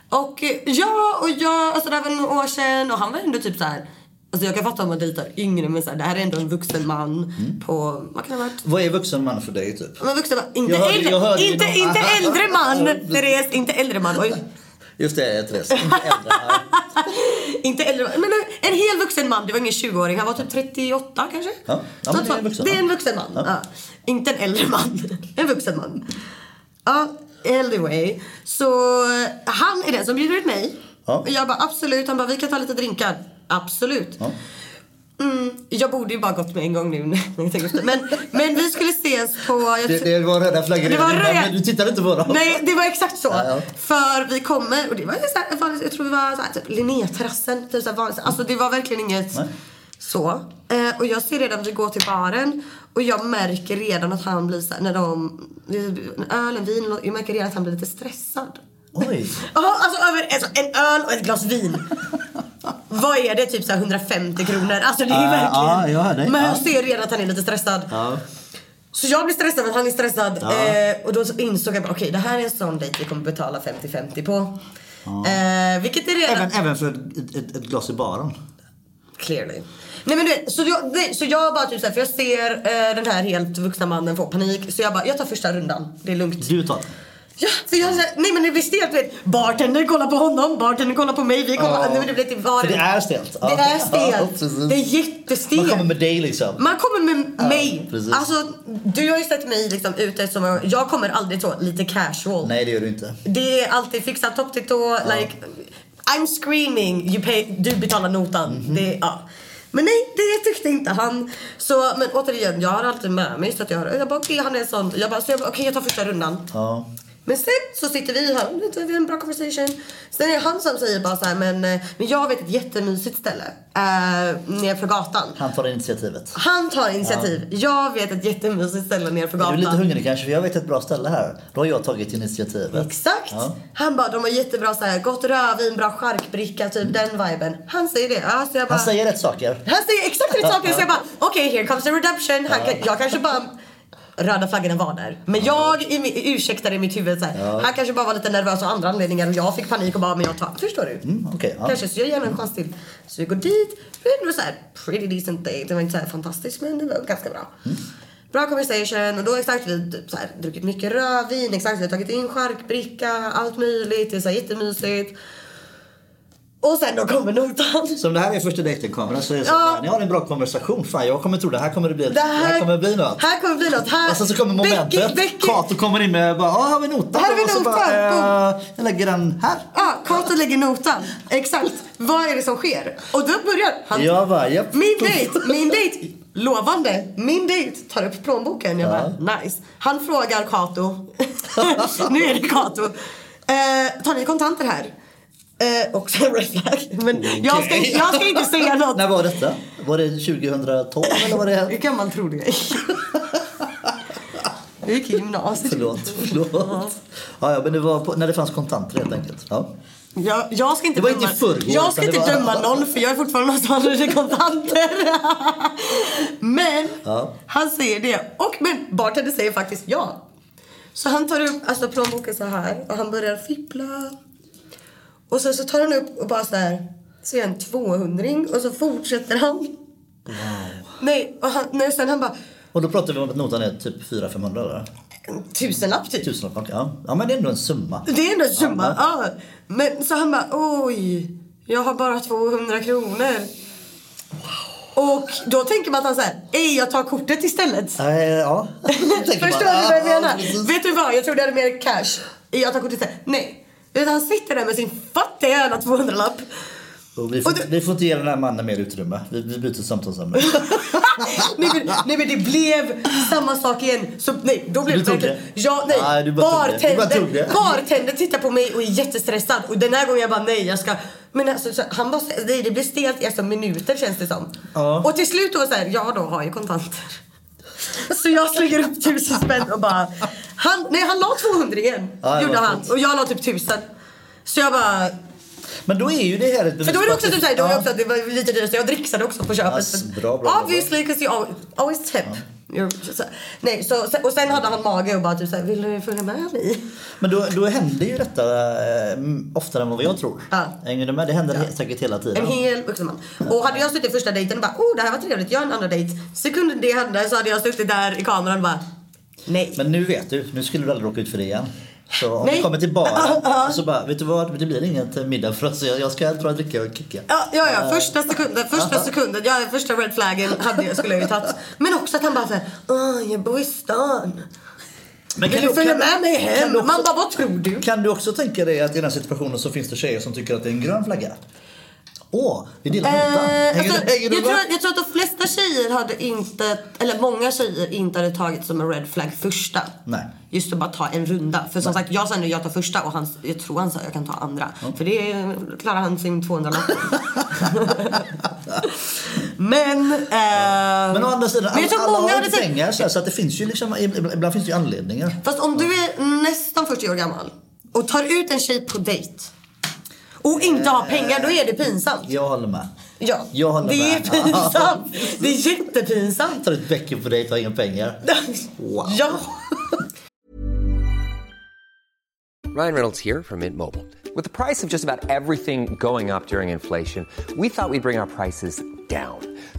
S1: Och eh, ja, och jag, alltså det här var några år sedan och han var ändå typ så här. Alltså jag kan fatta om man dejtar yngre men så här, det här är ändå en vuxen man
S2: Mm.
S1: på, vad kan det ha varit?
S2: Vad är vuxen man för dig typ?
S1: Men vuxen man, inte,
S2: Jag hörde-
S1: äldre,
S2: jag hörde ju
S1: inte,
S2: någon-
S1: inte äldre
S2: [LAUGHS]
S1: man, Therese, inte äldre man. Oj.
S2: Just det, Therese. Inte äldre.
S1: [LAUGHS] Inte äldre man, men en hel vuxen man, det var ingen 20-åring. Han var typ 38 kanske?
S2: Ja, ja, men
S1: Något
S2: det är
S1: sånt.
S2: en vuxen
S1: det är
S2: man.
S1: en vuxen man. Ja. Inte en äldre man. [LAUGHS] En vuxen man. Ja, anyway. Så han är den som bjuder ut mig.
S2: Ja.
S1: Jag bara absolut. Han bara vi kan ta lite drinkar. Absolut.
S2: Ja.
S1: Mm, jag borde ju bara gått med en gång nu [LAUGHS] när jag tänker efter. Men, men vi skulle ses på... Jag
S2: Det, det var röda flaggor
S1: Det var
S2: redan innan,
S1: röd-
S2: men Du tittade inte på dem.
S1: Nej, det var exakt så.
S2: Ja, ja.
S1: För vi kommer och det var ju så här, fan, jag tror vi var så här, typ Linnéterrassen, typ så här vanligt. Alltså det var verkligen inget
S2: Nej.
S1: så. Eh, och jag ser redan att vi går till baren och jag märker redan att han blir så här, när de, det är en öl, en vin, jag märker redan att han blir lite stressad.
S2: Oj.
S1: Ja, alltså över alltså, en öl och ett glas
S2: [LAUGHS]
S1: vin. Vad är det? Typ så här 150 kronor. Alltså det är
S2: Ah,
S1: verkligen.
S2: ah, jag hör dig.
S1: Men
S2: Ah.
S1: jag ser redan att han är lite stressad.
S2: Ja.
S1: Så jag blir stressad för att han är stressad.
S2: Ja.
S1: Eh, och då så insåg jag bara, okej det här är en sån dejt vi kommer betala 50-50 på. Eh, vilket är redan...
S2: Även, även för ett, ett, ett glas i baren.
S1: Clearly. Nej men du vet, så jag, det, så jag bara typ såhär, för jag ser eh, den här helt vuxna mannen få panik. Så jag bara, jag tar första rundan. Det är lugnt.
S2: Du tar den.
S1: Ja, för jag såhär, nej men det blir stelt du vet. Bartender kollar på honom, bartender kollar på mig, vi kollar.
S2: Ja.
S1: Nej men det blir till var
S2: För det är stelt.
S1: Det är
S2: Ja,
S1: stelt.
S2: precis.
S1: det är jättestelt.
S2: Man kommer med dig liksom.
S1: Man kommer med mig.
S2: precis.
S1: Alltså, du har ju sett mig liksom ute som jag kommer aldrig så lite casual.
S2: Nej det gör du inte.
S1: Det är alltid fixa topp till tå, like I'm screaming, you pay, du betalar notan.
S2: Mhm.
S1: Det, ja. Men nej, det tyckte inte han. Så, men återigen, jag har alltid med mig så att jag har, jag bara okej han är en sån. Jag bara, så jag bara okej jag tar första rundan.
S2: Ja.
S1: Men sen så sitter vi här och vi har en bra conversation. Sen är det han som säger bara så här, men, eh, men jag vet ett jättemysigt ställe. Uh, nerför gatan.
S2: Han tar initiativet.
S1: Han tar initiativ. Jag vet ett jättemysigt ställe nerför
S2: Du är
S1: gatan.
S2: lite hungrig kanske för jag vet ett bra ställe här. Då har jag tagit initiativet.
S1: Exakt!
S2: Ja.
S1: Han bara, de har jättebra så här, gott rödvin, bra charkbricka, typ den viben. Han säger det. Ja, så jag bara,
S2: Mm. Han säger rätt saker.
S1: han säger exakt rätt saker. Så
S2: [LAUGHS]
S1: jag bara, okej, here comes the redemption. Han, kan- Jag kanske bara... Röda flaggorna var där. Men jag i, mi- ursäktade i mitt huvud så här. Han kanske bara var lite nervös av andra anledningar och jag fick panik och bara, men jag tar... Förstår du?
S2: Mm, okej, ja.
S1: Kanske, så jag ger honom en chans till. Så vi går dit. Det var ändå så här pretty decent date. Det var inte så här fantastiskt men det var ganska bra.
S2: Mm.
S1: Bra conversation och då exakt vi typ så här, druckit mycket rödvin, exakt vi har tagit in charkbricka, allt möjligt. Det är så här jättemysigt. Och sen då kommer notan.
S2: Så om det här är första dejtingkameran så är det så
S1: Ja.
S2: här, ni har en bra konversation. Fan jag kommer tro det här kommer det bli, det
S1: Det
S2: här,
S1: här,
S2: kommer bli något.
S1: Här kommer bli något. Här,
S2: Och sen så kommer
S1: Becky-
S2: momentet.
S1: Becky-
S2: Kato kommer in med bara, "Ja, här har vi notan.
S1: Här har vi
S2: Och så
S1: notan,
S2: bara, "Eh, jag lägger den här.
S1: Ja, Kato Ah, lägger notan. Exakt. Vad är det som sker? Och då börjar han.
S2: Jag bara, japp.
S1: Min dejt, min dejt. Lovande. Min dejt tar upp plånboken. Jag bara, nice. Han frågar Kato. [LAUGHS] nu är det Kato. Eh, tar ni kontanter här? Eh, också en red flag. Men jag, ska,
S2: Okej.
S1: jag ska inte säga något.
S2: När var detta? Var det 2012 eller var
S1: Hur [LAUGHS]
S2: det?
S1: kan man tro det? Jag gick i gymnasiet.
S2: Förlåt, förlåt. Ja, ja, men det var på, när det fanns kontanter helt enkelt. Ja.
S1: Jag, jag ska inte
S2: Det var
S1: döma,
S2: inte i förrgår,
S1: jag ska
S2: utan
S1: inte
S2: det var-
S1: döma någon för jag är fortfarande någon som använder kontanter. [LAUGHS] men
S2: Ja.
S1: han säger det. Och men bartender säger faktiskt ja. Så han tar upp alltså, plånboken så här och han börjar fippla. Och sen så tar han upp och bara så här. Så är en 200 och så fortsätter han. Nej, och han, nej, sen han bara.
S2: Och då pratar vi om att notan är typ 400-500 eller?
S1: En tusenlapp typ.
S2: Tusenlapp, ja. ja. men det är ändå
S1: [LAUGHS]
S2: en summa.
S1: Det är ändå en summa. Ja. Men så han bara, oj, jag har bara 200 kronor. Och då tänker man att han såhär, ej jag tar kortet istället.
S2: Äh, ja. [LAUGHS] Tänker man,
S1: Förstår du vad jag
S2: ja,
S1: menar?
S2: precis.
S1: Vet du vad, jag trodde jag hade mer cash. Ej jag tar kortet istället. Nej. Utan han sitter där med sin fattiga jävla 200-lapp.
S2: Och vi, får,
S1: Och du-
S2: vi får inte ge den här mannen mer utrymme. Vi, vi byter samtalsämne.
S1: nej, men, nej men det blev samma sak igen. Så, nej, då blev
S2: Du tog
S1: verkligen-
S2: det?
S1: Ja, nej.
S2: Nej, du bara tog det. Du bara tog
S1: bartender,
S2: det.
S1: bartender tittar på mig och är jättestressad. Och den här gången jag bara nej jag ska. Men alltså, så, han bara, nej, det blir stelt i alltså, minuter känns det som.
S2: Ja.
S1: Och till slut då så här, ja då har jag kontanter. Så jag slänger upp tusen spänn och bara. Han, nej han la 200 igen.
S2: Ja, det
S1: gjorde
S2: var
S1: han.
S2: fint.
S1: Och jag la typ tusen. Så jag bara.
S2: Men då är ju det här ett bevis
S1: För då är det också
S2: på
S1: typ såhär,
S2: att-
S1: då är det
S2: Ja.
S1: också att det var lite dyrt så jag dricksade också på köpet.
S2: Ass,
S1: För-
S2: bra, bra, bra, bra.
S1: Obviously, because you always, always tip. You're- så- Nej, så, och sen hade han mage och bara typ såhär, vill du följa med mig?
S2: Men då, då händer ju detta eh, m- oftare än vad jag tror.
S1: Ja.
S2: Hänger du med? Det händer he- säkert hela tiden.
S1: En hel vuxen man. Och hade jag suttit första dejten och bara, oh det här var trevligt, jag har en andra dejt. Sekunden det hände så hade jag suttit där i kameran och bara, nej.
S2: Men nu vet du, nu skulle du aldrig råka ut för det igen. Så om
S1: Nej.
S2: vi kommer till
S1: [LAUGHS]
S2: baren så bara, vet du vad? Det blir inget middag för oss. Jag jag ska bara dricka och kicka.
S1: Ja, ja, ja. Första sekunden, första sekunden, ja, första red flaggen hade jag, skulle jag ju tagit. Men också att han bara såhär, åh, jag bor i stan.
S2: Men
S1: Vill du följa med mig
S2: Kan
S1: hem?
S2: du, också,
S1: Man bara, vad tror du?
S2: kan du också tänka dig att i den här situationen så finns det tjejer som tycker att det är en grön flagga? Åh, vi delar notan.
S1: Eh,
S2: Hänger,
S1: alltså,
S2: du- hänger du
S1: jag, tror
S2: med?
S1: att, jag tror att de flesta tjejer hade inte, eller många tjejer inte hade tagit som en red flag första.
S2: Nej.
S1: Just att bara ta en runda. För som sagt, jag sa nu jag tar första och han, jag tror han sa jag kan ta andra. För det eh, klarar han sin 200
S2: [LAUGHS]
S1: lapp. Men... Eh,
S2: Men å andra sidan,
S1: men jag tror
S2: alla, alla
S1: många
S2: har
S1: hade
S2: inte
S1: tänkt-
S2: pengar så, här, så att det finns ju liksom, ibland ibland finns det ju anledningar.
S1: Fast om du är nästan 40 år gammal och tar ut en tjej på dejt och inte har pengar, då är det pinsamt.
S2: Jag håller med.
S1: Ja,
S2: Jag håller
S1: det är
S2: med.
S1: pinsamt. Det är jättepinsamt.
S2: Tar ut bäcken på dig, tar inga pengar. Wow.
S1: Ja.
S3: Ryan Reynolds here from Mint Mobile. With the price of just about everything going up during inflation, we thought we'd bring our prices down.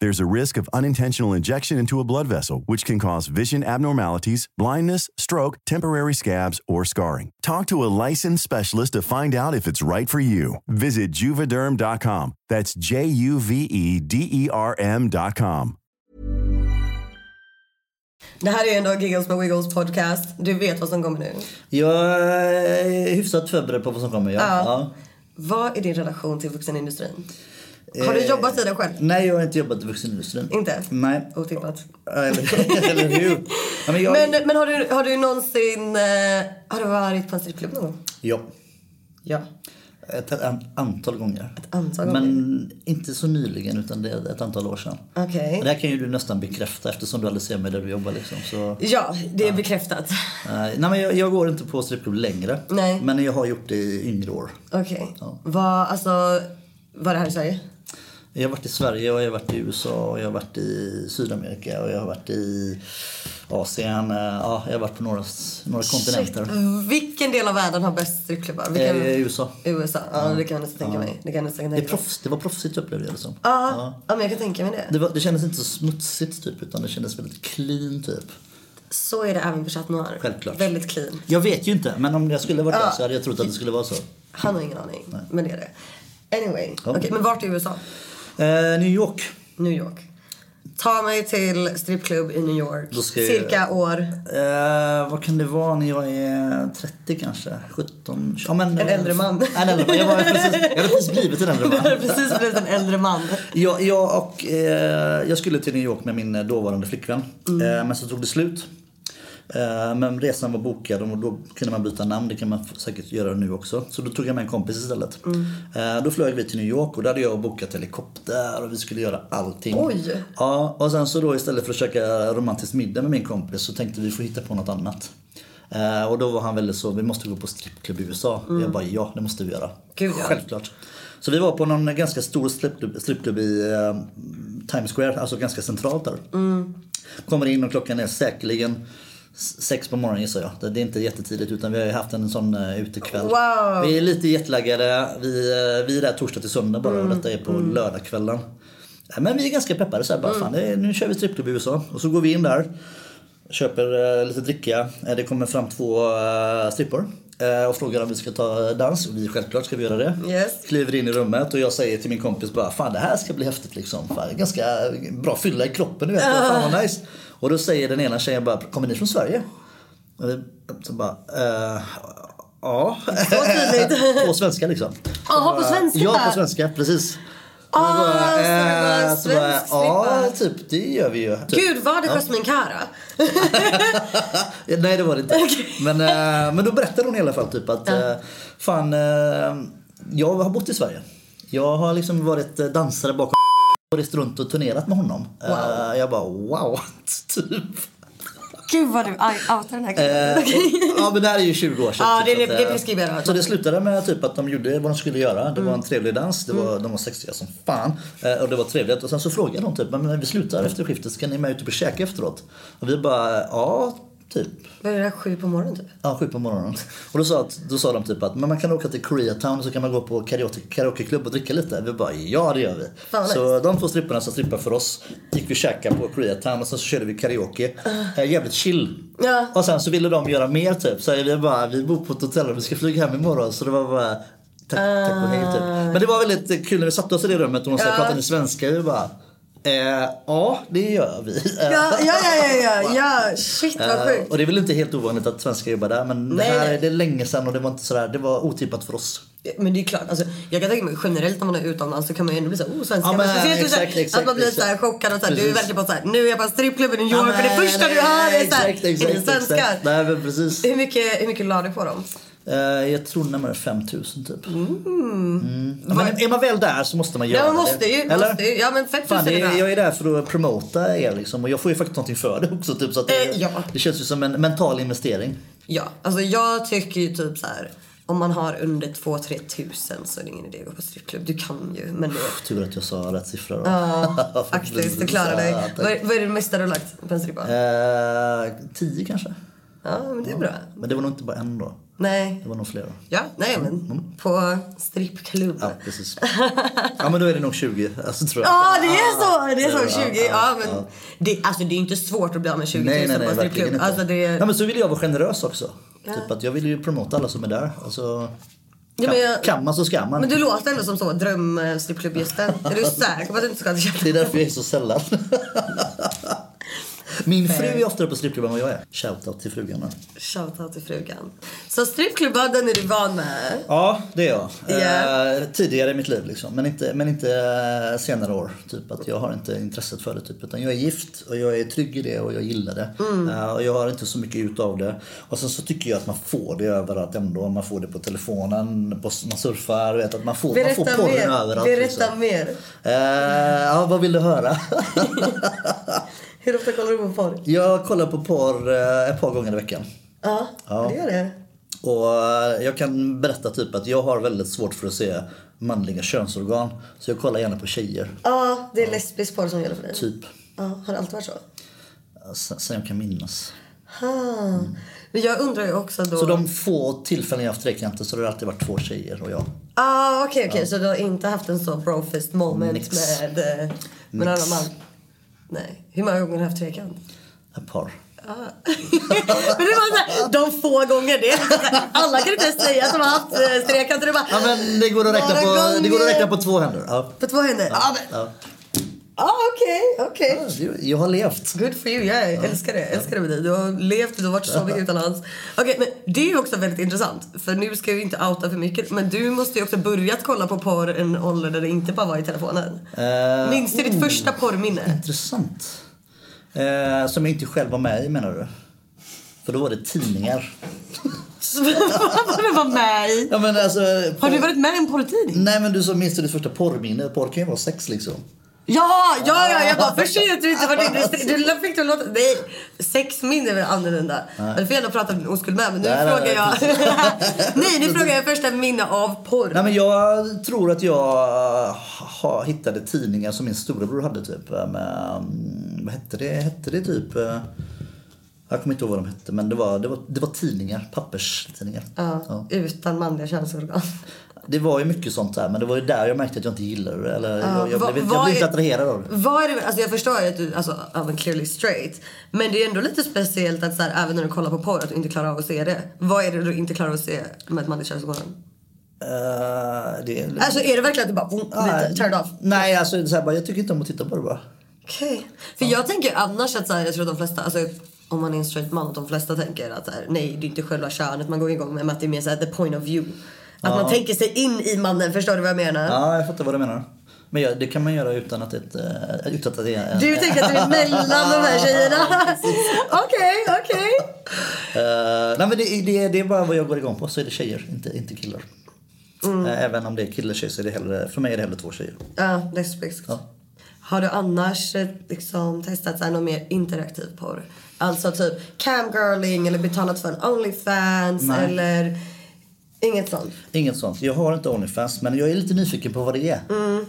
S4: There's a risk of unintentional injection into a blood vessel, which can cause vision abnormalities, blindness, stroke, temporary scabs, or scarring. Talk to a licensed specialist to find out if it's right for you. Visit juvederm.com. That's J U V E D E R M.com.
S1: Det här är ändå Giggles med Wiggles podcast. Du vet vad som kommer nu.
S2: Jag är hyfsat förberedd på vad som kommer. Ja. Ja.
S1: Vad är din relation till vuxenindustrin? Har
S2: Eh.
S1: du jobbat i den själv?
S2: Nej, jag har inte jobbat i vuxenindustrin.
S1: Inte?
S2: Nej.
S1: Otippat.
S2: Eller, [LAUGHS] eller hur? Ja, men jag,
S1: Men, men har, du, har du någonsin... eh, Har du varit på en strippklubb någon gång?
S2: ja,
S1: Ja.
S2: ett, an- antal gånger. Ett
S1: antal
S2: Men inte så nyligen, utan det är ett antal år sedan.
S1: Okej.
S2: Det här kan ju du nästan bekräfta eftersom du aldrig ser mig där du jobbar. Liksom, så.
S1: Ja, det är bekräftat.
S2: Nej, nej, men jag, jag går inte på strippklubb längre.
S1: Nej.
S2: Men jag har gjort det i yngre år.
S1: Okej.
S2: Ja.
S1: Vad, alltså... Var det här i Sverige?
S2: Jag har varit i Sverige, och jag har varit i USA, och jag har varit i Sydamerika och jag har varit i Asien. eh, Ja, jag har varit på några, några kontinenter.
S1: Vilken del av världen har bäst strippklubbar? Vilken...
S2: Eh, USA.
S1: USA, ja, det kan jag nästan tänka mig. Det kan jag nästan
S2: Det,
S1: tänka
S2: är
S1: mig.
S2: proffs, det var proffsigt upplevde jag det som.
S1: Ja, ja. men jag kan tänka mig det.
S2: Det, var, det kändes inte så smutsigt typ, utan det kändes väldigt clean typ.
S1: Så är det även på Chat Noir.
S2: Självklart.
S1: Väldigt clean.
S2: Jag vet ju inte, men om jag skulle varit där så hade jag trott att det skulle vara så.
S1: Han har ingen aning, men det är det. Anyway,
S2: Ja.
S1: okej, men vart i USA?
S2: Eh, New York.
S1: New York. Ta mig till strippklubb i New York.
S2: Då ska jag-
S1: Cirka år.
S2: Eh, vad kan det vara när jag är 30 kanske? 17? Ja, men,
S1: En äldre man.
S2: En äldre man. Jag, var precis, jag hade precis blivit en äldre
S1: Du hade
S2: man.
S1: [LAUGHS] precis blivit en äldre man.
S2: Jag, jag, och, eh, jag skulle till New York med min dåvarande flickvän.
S1: Mm.
S2: Eh, men så tog det slut. Eh, men resan var bokad och då kunde man byta namn. Det kan man f- säkert göra nu också. Så då tog jag med en kompis istället.
S1: Mm.
S2: Eh, då flög vi till New York och där hade jag bokat helikopter och vi skulle göra allting.
S1: Oj.
S2: Ja, och sen så då istället för att käka romantisk middag med min kompis så tänkte vi får hitta på något annat. Eh, och då var han väldigt så, vi måste gå på strippklubb i USA. Jag bara, ja det måste vi göra.
S1: Mm. Gud, ja.
S2: Självklart. Så vi var på någon ganska stor strippklubb, strippklubb i eh, Times Square, alltså ganska centralt där. Kommer in och klockan är säkerligen s- sex på morgonen gissar jag. Det- Det är inte jättetidigt utan vi har ju haft en sån uh, utekväll.
S1: Wow.
S2: Vi är lite jetlaggade. Vi, eh, vi är där torsdag till söndag bara och detta är på lördagskvällen. Eh, Men vi är ganska peppade så här, bara, fan, det är- nu kör vi strippklubb i USA. Och så går vi in där köper eh, lite dricka. Eh, Det kommer fram två eh, strippor. eh, och frågar om vi ska ta eh, dans. Och vi självklart ska vi göra det.
S1: Yes.
S2: Kliver in i rummet och jag säger till min kompis bara Fan det här ska bli häftigt liksom. Fan, ganska bra fylla i kroppen du
S1: Ah.
S2: vet. Fan vad nice. Och då säger den ena tjejen bara Kommer ni från Sverige? Och vi så bara eh, Ja.
S1: tydligt.
S2: [LAUGHS] på svenska liksom.
S1: Jaha, på svenska?
S2: Ja på svenska precis.
S1: Ah,
S2: Och bara,
S1: så det var
S2: eh,
S1: en
S2: så bara,
S1: svensk
S2: Ja
S1: snippa.
S2: typ det gör vi ju. Typ.
S1: Gud, var det Jasmine Kara?
S2: Nej det var
S1: [LAUGHS]
S2: det inte. Men, eh, men då berättade hon i alla fall typ att eh, fan eh, jag har bott i Sverige. Jag har liksom varit eh, dansare bakom [LAUGHS] och rest runt och turnerat med honom. Eh, Jag bara wow, [LAUGHS] typ.
S1: Gud vad du aj- outar den här
S2: Eh,
S1: killen.
S2: och, ja men det här är ju 20 år sedan.
S1: [LAUGHS] Ja,
S2: typ,
S1: det-
S2: så att,
S1: det
S2: eh,
S1: preskriberar.
S2: Så det slutade med typ att de gjorde vad de skulle göra. Det
S1: Mm.
S2: var en trevlig dans. Det var, De var sexiga som fan. Eh, Och det var trevligt. Och sen så frågade de typ, men men vi slutar efter skiftet. Ska ni med ut och käka efteråt? Och vi bara, ja typ.
S1: Var det där sju på morgonen typ?
S2: Ja, sju på morgonen. Och då sa, att, då sa de typ att men man kan åka till Koreatown och så kan man gå på karaoke, karaokeklubb och dricka lite. Vi bara, ja det gör vi.
S1: Fan, vad
S2: så de två stripparna som strippade för oss gick vi och käkade på Koreatown och sen så körde vi karaoke. Eh, jävligt chill.
S1: Ja.
S2: Och sen så ville de göra mer typ. Så vi bara, vi bor på ett hotell och vi ska flyga hem imorgon. Så det var bara tack, tack
S1: Ah.
S2: och hej typ. Men det var väldigt eh, kul när vi satte oss i det rummet och hon sa, pratar ni svenska? Vi bara, eh, ja det gör vi.
S1: Ja, ja, ja, ja, ja, ja. shit vad
S2: Eh,
S1: sjukt.
S2: och det är väl inte helt ovanligt att svenskar jobbar där men
S1: Nej,
S2: det här
S1: nej.
S2: det är länge sedan och det var inte sådär, det var otippat för oss.
S1: Men det är klart, alltså, jag kan tänka mig generellt när man är utomlands så kan man ju ändå bli såhär, oh svenska.
S2: Ja, men,
S1: men, speciellt
S2: exakt,
S1: såhär,
S2: exakt,
S1: att man blir
S2: exakt.
S1: såhär chockad och såhär, du är
S2: Precis.
S1: verkligen bara såhär, nu är jag på en strippklubb i New York och
S2: Ja,
S1: det
S2: men,
S1: första
S2: nej,
S1: du hör är
S2: nej,
S1: såhär,
S2: exakt, exakt,
S1: är ni svenskar?
S2: exakt. Nej men precis.
S1: Hur mycket, hur mycket la du på dem?
S2: Eh, jag tror närmare 5000 typ. Mm. Ja, Men är man väl där så måste man göra
S1: Ja, man
S2: det.
S1: måste ju, måste ju. Ja, men 5000
S2: Fan, det
S1: är bra.
S2: är, jag är där för att promota er liksom och jag får ju faktiskt någonting för det också typ så att det,
S1: Eh, ja.
S2: det känns ju som en mental investering.
S1: Ja, alltså jag tycker ju typ såhär, om man har under 2-3 tusen så är det ingen idé att gå på strippklubb. Du kan ju, men du vet.
S2: Tur att jag sa rätt siffra då. [LAUGHS] Ja,
S1: Faktiskt, du klarar dig. Vad är- vad är det mesta du har lagt på en strippa?
S2: Eh, tio kanske.
S1: Ja, men det är bra.
S2: Men det var nog inte bara en då.
S1: Nej.
S2: Det var nog flera.
S1: Ja, nej men på strippklubb.
S2: Mm. Ja, precis. Ja, men då är det nog 20. Alltså, tror jag.
S1: Ja, det är så! Det är så 20. Ja, men
S2: ja.
S1: Det, alltså, det är inte svårt att bli av med 20 000
S2: Nej, nej,
S1: på
S2: nej,
S1: en
S2: verkligen
S1: strippklubb.
S2: inte.
S1: Alltså, det,
S2: Nej, men så vill jag vara generös också. Typ att jag vill ju promota alla som är där. Alltså, kan,
S1: Ja, men jag-
S2: kan man så ska man.
S1: men du låter ändå som så, drömstrippklubbgästen. är du säker på att du inte ska till
S2: Det är därför jag är
S1: [LAUGHS]
S2: så sällan. Min fru är oftare på strippklubb än vad jag är. Shoutout till frugan. då.
S1: Shoutout till frugan. Så strippklubbar, den är du van med?
S2: Ja, det är jag.
S1: Ja.
S2: Eh, tidigare i mitt liv liksom. Men inte, men inte eh, senare år. Typ att jag har inte intresset för det. Typ. Utan jag är gift och jag är trygg i det och jag gillar det.
S1: Mm.
S2: Eh, och jag har inte så mycket ut av det. Och sen så tycker jag att man får det överallt ändå. Man får det på telefonen, på, man surfar, vet, att man får, man får porren överallt.
S1: Berätta
S2: liksom.
S1: mer.
S2: Eh, ja, vad vill du höra? [LAUGHS]
S1: Hur ofta kollar du på porr?
S2: jag kollar på porr eh, ett par gånger i veckan.
S1: Ja, det gör det.
S2: Och eh, jag kan berätta typ att jag har väldigt svårt för att se manliga könsorgan. Så jag kollar gärna på tjejer.
S1: Ja, det är lesbisk porr som gäller för dig.
S2: Typ.
S1: Ja, har det alltid varit så?
S2: Sen sen jag kan minnas.
S1: Ha. Ah. Men jag undrar ju också då...
S2: Så de få tillfällen jag haft trekanter så har det alltid varit två tjejer och jag.
S1: Ah, okej, okej. Så du har inte haft en sån brofist moment
S2: Nix.
S1: med, eh, med en
S2: Nix.
S1: annan man? Nej. Hur många gånger har du haft trekant? [LAUGHS]
S2: Ett par.
S1: Men det var såhär, de få gånger det. Alla kan inte säga att de har haft eh, trekant. Det är bara,
S2: Ja men det går att räkna
S1: några
S2: på, det går att
S1: gånger.
S2: räkna på två händer. Ja.
S1: På två händer? Ja, men-
S2: Ja.
S1: ah, okej, okej.
S2: Jag- Jag har levt.
S1: Good for you, jag älskar det. Jag älskar det med dig. Du har levt, du har varit så mycket utomlands. Okej, men det är ju också väldigt intressant. För nu ska vi inte outa för mycket. Men du måste ju också börjat kolla på porr i en ålder där det inte bara var i telefonen. Minns du ditt första porrminne?
S2: Intressant. Eh, som jag inte själv var med i menar du? För då var det tidningar.
S1: Vad du var med i?
S2: Ja, men alltså,
S1: Har du
S2: porr-
S1: varit med i en porrtidning?
S2: Nej men du som minns du ditt första porrminne? Porr kan ju vara sex liksom.
S1: Ja, ja, ja, jag bara först ser jag att du inte varit intresserad. Du fick det att låta... Nej, sexminne är väl annorlunda. Men Du får gärna prata om din oskuld med, men nu
S2: Nej, nej,
S1: frågar jag...
S2: nej,
S1: [LAUGHS] nej, nu frågar jag första minne av porr.
S2: Nej men jag tror att jag ha- hittade tidningar som min storebror hade typ. Med, mm, vad hette det? Hette det typ? eh, Jag kommer inte ihåg vad de hette men det var, det var, det var tidningar, papperstidningar.
S1: Ja, Utan manliga könsorgan.
S2: Det var ju mycket sånt där men det var ju där jag märkte att jag inte gillade det. Eller, jag, jag,
S1: vad-
S2: blev,
S1: vad
S2: jag blev inte
S1: är-
S2: attraherad av det.
S1: Vad är det, alltså jag förstår ju att du alltså, även clearly straight. Men det är ändå lite speciellt att så här, även när du kollar på porr att du inte klarar av att se det. Vad är det du inte klarar av att se med ett manligt könsorgan?
S2: Eh, det är,
S1: Alltså är det verkligen att du bara boom, lite turned off?
S2: Nej, alltså det är så här, bara, jag tycker inte om att titta på det bara.
S1: Okej. För jag tänker annars att så här, jag tror att de flesta, alltså om man är en straight man, att de flesta tänker att så här, nej det är inte själva könet man går igång med, men att det är mer så här, the point of view. Att man tänker sig in i mannen, förstår du vad jag menar?
S2: Ja, jag fattar vad du menar. Men ja, det kan man göra utan att, ett, eh, utan att det är en...
S1: Du tänker att du är mellan de här tjejerna? [LAUGHS] Okej, okej.
S2: Eh, nej men det, det, det är bara vad jag går igång på, så är det tjejer, inte, inte killar. Eh, även om det är kille och tjej så är det hellre, för mig är det hellre två tjejer.
S1: Ja, lesbisk. Har du annars eh, liksom, testat så här, någon mer interaktiv porr? Alltså typ camgirling eller betalat för en Onlyfans
S2: Nej.
S1: eller inget sånt?
S2: Inget sånt. Jag har inte Onlyfans men jag är lite nyfiken på vad det är.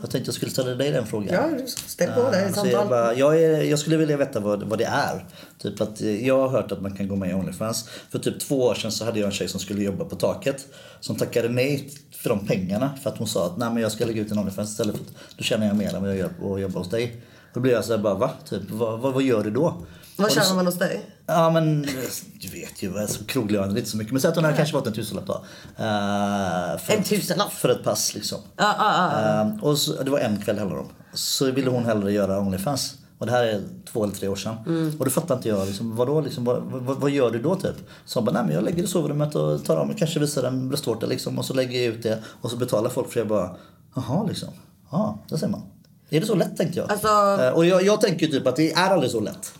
S2: Jag tänkte jag skulle ställa dig den frågan.
S1: Ja, du ställ på det i
S2: Eh, så
S1: samtal.
S2: jag, bara, jag, är, jag skulle vilja veta vad, vad det är. Typ att, eh, jag har hört att man kan gå med i Onlyfans. För typ två år sedan så hade jag en tjej som skulle jobba på taket. Som tackade nej för de pengarna. För att hon sa att Nej, men jag ska lägga ut en Onlyfans istället. För att, då tjänar jag mer än vad jag gör på att jobba hos dig. Då blev jag så här bara va? Typ, vad, vad, vad gör du då?
S1: Vad
S2: Och då-
S1: tjänar man hos dig?
S2: Ja men du vet ju, alltså, kroglönen är inte så mycket. Men säg att hon hade kanske fått en tusenlapp då. Eh, för
S1: En
S2: ett-
S1: tusenlapp?
S2: För ett pass liksom. Eh, och så, det var en kväll handlade det om. Så ville hon hellre göra Onlyfans. Och det här är två eller tre år sedan.
S1: Mm.
S2: Och då fattade inte jag, liksom, vadå, liksom, vad, vad, vad gör du då typ? Så hon bara, nej men jag lägger i sovrummet och tar av mig, kanske visar en bröstvårta liksom. Och så lägger jag ut det och så betalar folk för det. Jag bara, jaha liksom. Ja, där ser man. Är det så lätt tänkte jag.
S1: Alltså-
S2: Eh, och jag, jag tänker typ att det är aldrig så lätt.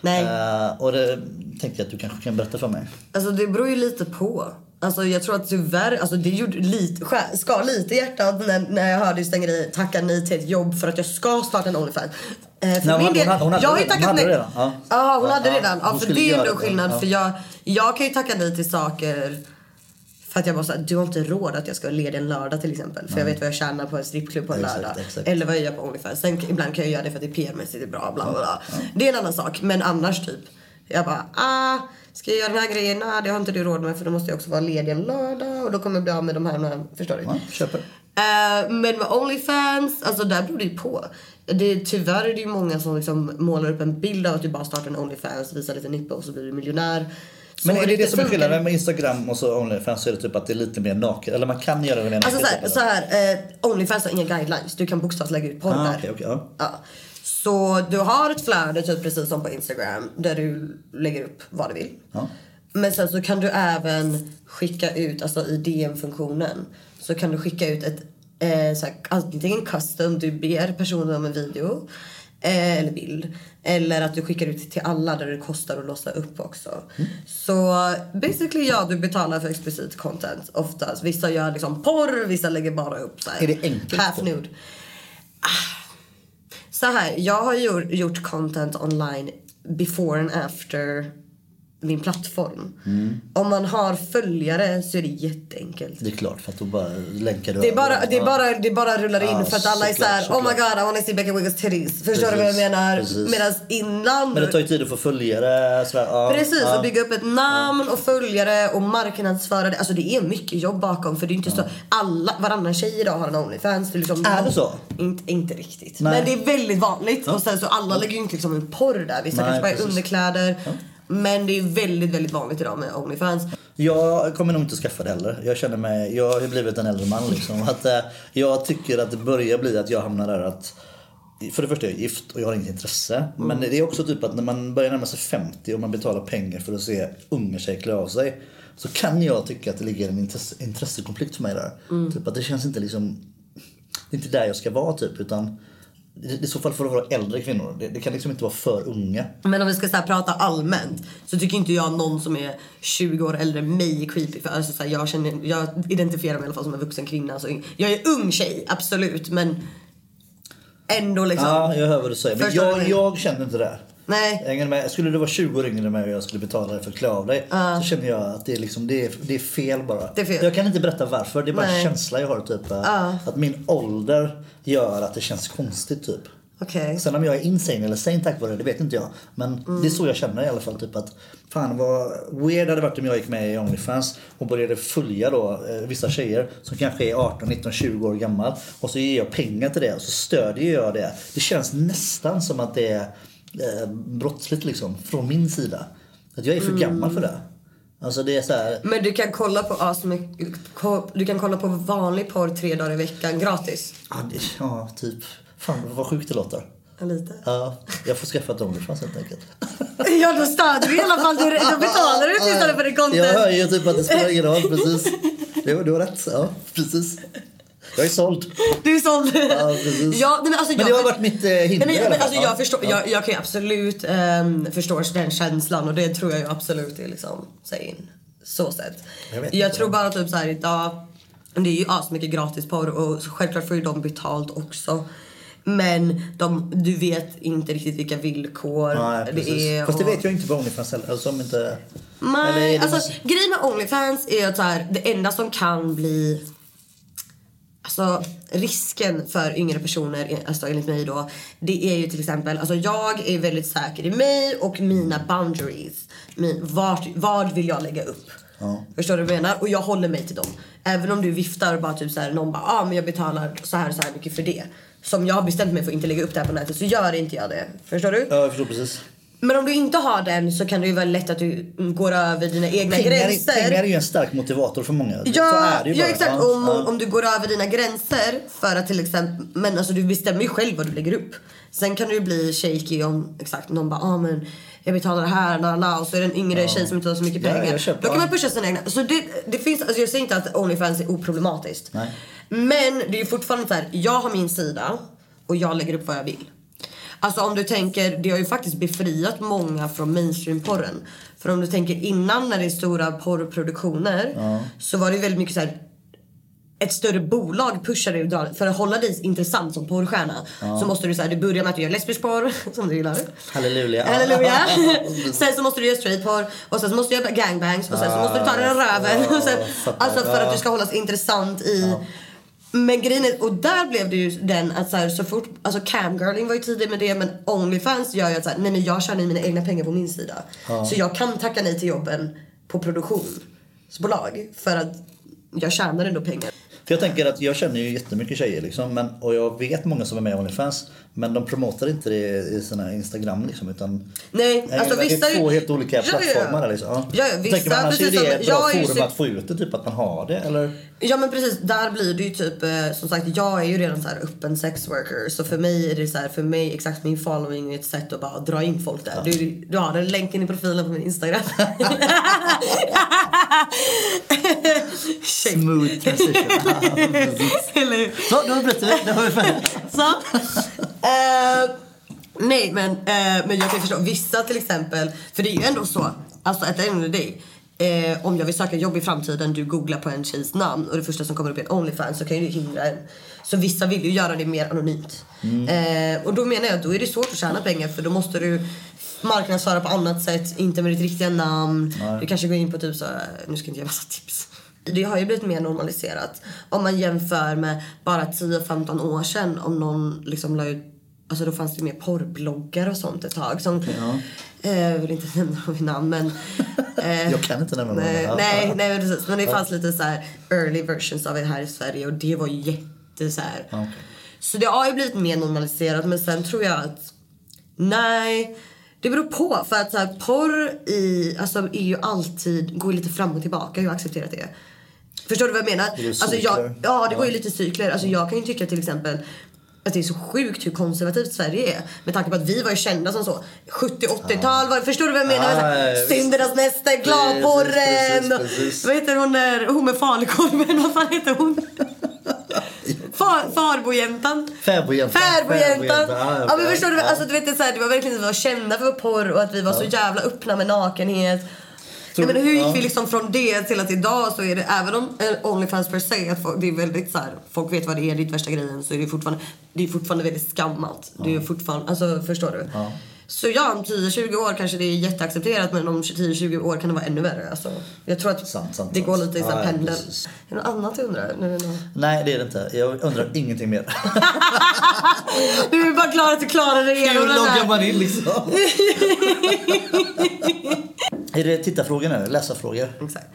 S1: Nej.
S2: Eh, och det tänkte jag att du kanske kan berätta för mig.
S1: Alltså det beror ju lite på. Alltså jag tror att tyvärr, alltså det gjorde lite, skär- skar lite i hjärtat när, när jag hörde just den grejen. Tacka nej till ett jobb för att jag ska starta en Onlyfans. Eh, för
S2: Nej,
S1: min
S2: hon-
S1: del,
S2: hon hade- hon hade
S1: jag har ju
S2: redan-
S1: tackat
S2: hon hade
S1: nej.
S2: redan, ja.
S1: Ja, hon
S2: Ja,
S1: hade
S2: ja.
S1: redan. Ja,
S2: Hon
S1: för
S2: skulle
S1: det är ändå
S2: göra det,
S1: skillnad.
S2: ja.
S1: För jag, jag kan ju tacka nej till saker för att jag bara såhär, du har inte råd att jag ska vara ledig en lördag till exempel. För jag vet vad jag tjänar på en strippklubb på en
S2: Exakt,
S1: lördag.
S2: exakt.
S1: Eller vad jag gör på Onlyfans. Sen k- ibland kan jag göra det för att det PR-mässigt är bra. Bla, bla, bla. Det är en annan sak. Men annars typ. Jag bara, ah, ska jag göra den här grejen? Nej, det har inte du råd med för då måste jag också vara ledig en lördag. Och då kommer jag bli av med de här. De här förstår du?
S2: Ja, köper.
S1: Eh, men med Onlyfans, alltså där beror det ju på. Det, tyvärr är det ju många som liksom målar upp en bild av att du bara startar en Onlyfans, visar lite nippa och så blir du miljonär. Så
S2: Men är det det
S1: inte
S2: som är
S1: funkar.
S2: skillnaden med Instagram och så Onlyfans så är det typ att det är lite mer naket. Eller man kan göra det mer
S1: Alltså
S2: naket.
S1: såhär, så här, eh, Onlyfans har inga guidelines. Du kan bokstavligt lägga ut porr
S2: Ah,
S1: där.
S2: okej, okej, ja.
S1: Så du har ett flöde typ precis som på Instagram där du lägger upp vad du vill.
S2: Ja.
S1: Men sen så kan du även skicka ut, alltså i DM-funktionen så kan du skicka ut ett eh, så här, antingen custom, du ber personen om en video eh, eller bild. Eller att du skickar ut till alla där det kostar att låsa upp också. Så basically ja, du betalar för explicit content oftast. Vissa gör liksom porr, vissa lägger bara upp så här,
S2: Är det enkelt
S1: half
S2: då?
S1: nude. Så här, jag har gjort, gjort content online before and after min plattform.
S2: Mm.
S1: Om man har följare så är det jätteenkelt.
S2: Det är klart för att då bara länkar du
S1: Det är
S2: över.
S1: bara, det är
S2: Ja.
S1: bara, det är bara rullar in
S2: Ja,
S1: för att alla är
S2: såklart,
S1: såhär Oh my
S2: såklart.
S1: god I wanna see Becca Wiggles titties. Förstår du vad jag
S2: Precis,
S1: menar?
S2: precis.
S1: Medan innan
S2: Men det tar ju tid att få följare. Sådär. Ja,
S1: Precis,
S2: ja.
S1: och bygga upp ett namn och följare och marknadsföra det. Alltså det är mycket jobb bakom för det är inte så alla, varannan tjej idag har en Onlyfans. Det är, liksom,
S2: Är det så?
S1: Inte, inte riktigt.
S2: Nej.
S1: Men det är väldigt vanligt. Och sen så alla lägger ju inte liksom en porr där. Vissa
S2: Nej,
S1: kanske bara är
S2: precis.
S1: underkläder. Men det är väldigt, väldigt vanligt idag med Onlyfans.
S2: Jag kommer nog inte skaffa det heller. Jag känner mig, jag har ju blivit en äldre man liksom. Att, eh, jag tycker att det börjar bli att jag hamnar där att för det första är jag gift och jag har inget intresse.
S1: Mm.
S2: Men det är också typ att när man börjar närma sig 50 och man betalar pengar för att se unga tjejer klä av sig. Så kan jag tycka att det ligger en intresse, intressekonflikt för mig där.
S1: Mm.
S2: Typ att det känns inte liksom, det är inte där jag ska vara typ. Utan i i så fall får det vara äldre kvinnor. Det, det kan liksom inte vara för unga.
S1: Men om vi ska så här prata allmänt så tycker inte jag någon som är 20 år äldre än mig är creepy. För alltså så här, jag, känner, jag identifierar mig i alla fall som en vuxen kvinna. Så jag är ung tjej, absolut. Men ändå liksom.
S2: Ja, jag hör vad du säger. Men
S1: Förstår du vad
S2: jag,
S1: jag menar?
S2: jag känner inte det.
S1: Nej.
S2: Jag hänger med. Skulle du vara 20 år yngre än mig och jag skulle betala dig för att klä av dig. Så känner jag att det är, liksom, det, är, det är fel bara.
S1: Det är fel.
S2: Jag kan inte berätta varför. Det är bara
S1: Nej.
S2: en känsla jag har. Typ, Att min ålder gör att det känns konstigt. Typ.
S1: Okej.
S2: Sen om jag är insane eller sane tack vare det, det vet inte jag. Men det är så jag känner i alla fall. Typ att, fan vad weird hade det varit om jag gick med i Onlyfans och började följa då, eh, vissa tjejer som kanske är 18, 19, 20 år gammal. Och så ger jag pengar till det och så stödjer jag det. Det känns nästan som att det är eh, brottsligt liksom, från min sida. Att jag är för gammal för det. Alltså det är så här,
S1: Men du kan kolla på asmy- ko- du kan kolla på vanlig porr tre dagar i veckan gratis.
S2: ja, det, ja typ, fan vad sjukt det låter.
S1: Ja, Lite.
S2: Ja, jag får skaffa ett Onlyfans helt enkelt.
S1: Ja, då stöder du i alla fall. Du, då betalar du åtminstone för det
S2: Jag hör ju
S1: content.
S2: typ att det spelar ingen roll, precis. Du, du har rätt, ja precis. Jag är såld.
S1: Du är såld.
S2: Ja, precis.
S1: Ja, nej, men alltså,
S2: Men
S1: jag-
S2: det har varit mitt eh, hinder
S1: Nej, men,
S2: i alla
S1: jag- men,
S2: fall.
S1: alltså,
S2: Ja.
S1: jag, förstår, jag, jag kan ju absolut um, förstå den känslan och det tror jag ju absolut är liksom sane. Så sett.
S2: Jag vet
S1: Jag,
S2: inte.
S1: tror bara typ såhär idag, det är ju asmycket gratisporr och självklart får ju de betalt också. Men de, du vet inte riktigt vilka villkor
S2: Nej, precis.
S1: det är.
S2: Fast det
S1: och-
S2: vet jag inte på Onlyfans heller. Alltså, om inte... Eller är
S1: Nej,
S2: det
S1: alltså
S2: mest-
S1: grejen med Onlyfans är att så här, det enda som kan bli Alltså risken för yngre personer, alltså enligt mig då, det är ju till exempel, alltså jag är väldigt säker i mig och mina boundaries. Min, vart, vad vill jag lägga upp? Förstår du vad jag menar? Och jag håller mig till dem. Även om du viftar och bara typ såhär, någon bara, ah, men jag betalar så här och så här mycket för det. Som jag har bestämt mig för att inte lägga upp det här på nätet så gör inte jag det. Förstår du?
S2: Ja, jag förstår precis.
S1: Men om du inte har den så kan det ju vara lätt att du går över dina egna
S2: Pengar,
S1: gränser.
S2: pengar är ju en stark motivator för många. så
S1: Ja,
S2: är det ju
S1: ja
S2: bara.
S1: exakt.
S2: Ja,
S1: Om,
S2: ja.
S1: om du går över dina gränser för att till exempel, men alltså du bestämmer ju själv vad du lägger upp. Sen kan du ju bli shaky om exakt någon bara, ah, men jag betalar det här, la, la, la, och så är det en yngre tjej som inte har så mycket
S2: Ja,
S1: pengar.
S2: jag köper.
S1: Då kan man pusha sina egna. Så det, det finns, alltså jag säger inte att Onlyfans är oproblematiskt.
S2: Nej.
S1: Men det är ju fortfarande så här, jag har min sida och jag lägger upp vad jag vill. Alltså om du tänker, det har ju faktiskt befriat många från mainstreamporren. För om du tänker innan när det är stora porrproduktioner så var det ju väldigt mycket så här. Ett större bolag pushar dig och drar- för att hålla dig intressant som porrstjärna. Så måste du säga, du börjar med att du gör lesbisk porr [LAUGHS] som du gillar.
S2: Halleluja. [LAUGHS]
S1: Halleluja. sen så måste du göra straight porr och sen så måste du göra gangbangs och sen så måste du ta den här röven. [LAUGHS] Och sen,
S2: Ah, fattar.
S1: alltså för att du ska hållas intressant i men grejen är, och där blev det ju den att så, här, så fort, alltså camgirling var ju tidig med det men Onlyfans gör ju att så här, nej men jag tjänar ju mina egna pengar på min sida. Så jag kan tacka nej till jobben på produktionsbolag för att jag tjänar ändå pengar.
S2: För jag tänker att jag känner ju jättemycket tjejer liksom, men, och jag vet många som är med i Onlyfans men de promotar inte det i sina Instagram liksom utan
S1: Nej, alltså
S2: det
S1: vissa...
S2: är två helt olika
S1: Ja, ja, ja.
S2: plattformar där liksom.
S1: Ja, ja,
S2: Då
S1: vissa,
S2: tänker man annars är
S1: precis
S2: det
S1: som-
S2: ett
S1: jag
S2: bra
S1: har ju
S2: forum
S1: sett-
S2: att få ut det typ att man har det eller?
S1: Ja men precis, där blir det ju typ eh, som sagt jag är ju redan så här öppen sex worker så för mig är det så här, för mig exakt min following är ett sätt att bara dra in folk där. Du, du har den länken i profilen på min
S2: [LAUGHS]
S1: Instagram. Shame.
S2: Smooth transition.
S1: [LAUGHS] Eller hur?
S2: Så nu berättar vi. Nu har vi färdigt.
S1: Så. Eh, nej men, eh, men jag kan förstå. Vissa till exempel, för det är ju ändå så, alltså at the end of the day. Eh, om jag vill söka jobb i framtiden, du googlar på en tjejs namn och det första som kommer upp är en Onlyfans så kan ju det hindra en. Så vissa vill ju göra det mer anonymt. Eh, och då menar jag att då är det svårt att tjäna pengar för då måste du marknadsföra på annat sätt, inte med ditt riktiga namn. Du kanske går in på typ så nu ska jag inte ge massa tips. Det har ju blivit mer normaliserat. Om man jämför med bara 10-15 år sedan om någon liksom la ut Alltså då fanns det ju mer porrbloggar och sånt ett tag. Som, eh, vill inte nämna dem vid namn men... eh,
S2: Jag kan inte nämna någon
S1: nej,
S2: annan.
S1: nej, nej men precis. Men det fanns lite så här early versions av det här i Sverige och det var ju jätte så här. Så det har ju blivit mer normaliserat men sen tror jag att Nej, det beror på. För att så här, porr i, alltså, är ju alltid, går ju lite fram och tillbaka. Jag har accepterat det. Förstår du vad jag menar?
S2: går i
S1: Alltså, jag,
S2: cykler.
S1: ja, det går ju lite i cykler. Alltså, jag kan ju tycka till exempel att det är så sjukt hur konservativt Sverige är. Med tanke på att vi var ju kända som så. 70-80-tal, var, förstår du vad jag menar?
S2: Ja,
S1: Så här,
S2: Ah. ja, visst.
S1: Syndernas näste,
S2: Precis,
S1: gladporren.
S2: precis, precis.
S1: och- Vad heter hon där? Hon med falukorven, [LAUGHS] vad fan heter
S2: [LAUGHS]
S1: hon? Far, farbojäntan.
S2: Fäbodjäntan.
S1: Färbojäntan.
S2: Fäbodjäntan,
S1: Ja men förstår du?
S2: ja.
S1: Alltså du vet det är så här, det var verkligen att vi var kända för vår porr och att vi var så jävla öppna med nakenhet. Nej, men hur gick
S2: ja.
S1: vi liksom från det till att idag så är det även om eh, Onlyfans per se att folk, det är väldigt så här, folk vet vad det är, det är inte värsta grejen så är det fortfarande, det är fortfarande väldigt skammat. Det är fortfarande, alltså förstår du? Så ja, om 10-20 år kanske det är jätteaccepterat men om 10-20 år kan det vara ännu värre. Alltså, jag tror att
S2: Sant, sant,
S1: det går
S2: sant.
S1: lite i så här
S2: Ja, ja,
S1: pendel.
S2: precis.
S1: är det något annat du undrar? Nu är det något-
S2: Nej, det är det inte. Jag undrar
S1: [LAUGHS]
S2: ingenting mer.
S1: Du är bara glad att du klarade dig
S2: Hur
S1: igenom den
S2: loggar
S1: här.
S2: man in liksom?
S1: [LAUGHS]
S2: är det tittarfrågor nu? Läsarfrågor?
S1: Exakt.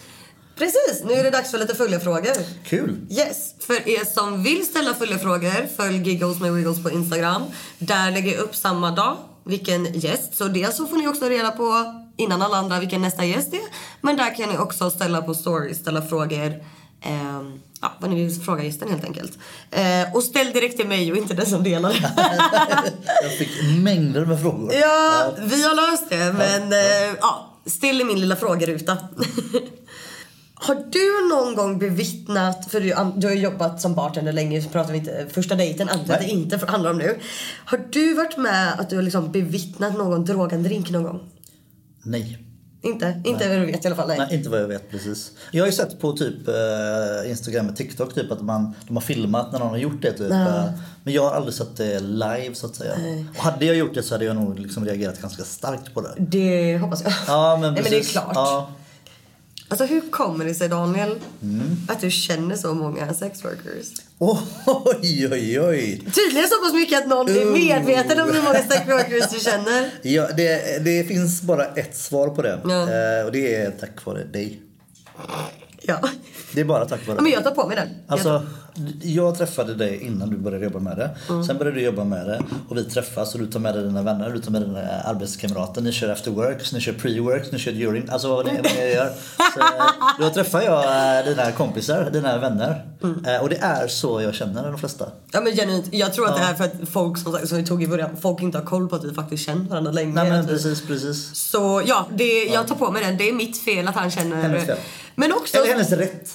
S1: Precis, nu är det dags för lite följarfrågor.
S2: Kul!
S1: Yes, för er som vill ställa följarfrågor, följ Giggles med Wiggles på Instagram. Där lägger jag upp samma dag vilken gäst. Så dels så får ni också reda på innan alla andra vilken nästa gäst är. Men där kan ni också ställa på stories, ställa frågor. ehm, ja, vad ni vill fråga gästen helt enkelt. Eh, och ställ direkt till mig och inte den som delar.
S2: Jag fick mängder med frågor.
S1: Ja, vi har löst det. Men ja, ja still i min lilla frågeruta. [LAUGHS] har du någon gång bevittnat, för du, du har ju jobbat som bartender länge, så pratar vi inte eh, första dejten, antar att det
S2: Nej.
S1: inte för- handlar om nu. Har du varit med att du har liksom bevittnat någon droga en drink någon gång?
S2: Nej.
S1: Inte? Inte vad du vet i alla fall? Nej.
S2: Nej, inte vad jag vet precis. Jag har ju sett på typ eh, Instagram och TikTok typ att man, de har filmat när någon har gjort det typ. Eh, Men jag har aldrig sett det live så att säga. Och hade jag gjort det så hade jag nog liksom reagerat ganska starkt på det.
S1: Det hoppas jag.
S2: Ja, men
S1: Nej, men det är
S2: precis.
S1: klart.
S2: Ja,
S1: Alltså hur kommer det sig Daniel att du känner så många sexworkers?
S2: Oj, oj, oj.
S1: Tydligen så pass mycket att någon är medveten om hur många sexworkers du känner.
S2: Ja, det, det finns bara ett svar på det.
S1: Ja.
S2: Eh, och det är tack vare dig.
S1: Ja.
S2: Det är bara tack
S1: Ja,
S2: vare
S1: men
S2: dig.
S1: jag tar på mig den. Jag Mm. tar-
S2: Alltså, jag träffade dig innan du började jobba med det. Sen började du jobba med det och vi träffas och du tar med dig dina vänner, du tar med dig dina arbetskamrater. Ni kör after works, ni kör pre-works, ni kör during. Alltså vad ni ni gör. Så, eh, då träffar jag eh, dina kompisar, dina vänner.
S1: Mm.
S2: Eh, Och det är så jag känner de flesta.
S1: ja, men genuint, jag tror att det är för att folk som, sagt, som vi tog i början, folk inte har koll på att vi faktiskt känner varandra länge.
S2: Nej men
S1: Att vi-
S2: precis, precis.
S1: Så ja, det, jag tar på mig den. Det är mitt fel att han känner...
S2: Hennes fel.
S1: Men också...
S2: Eller hennes rätt.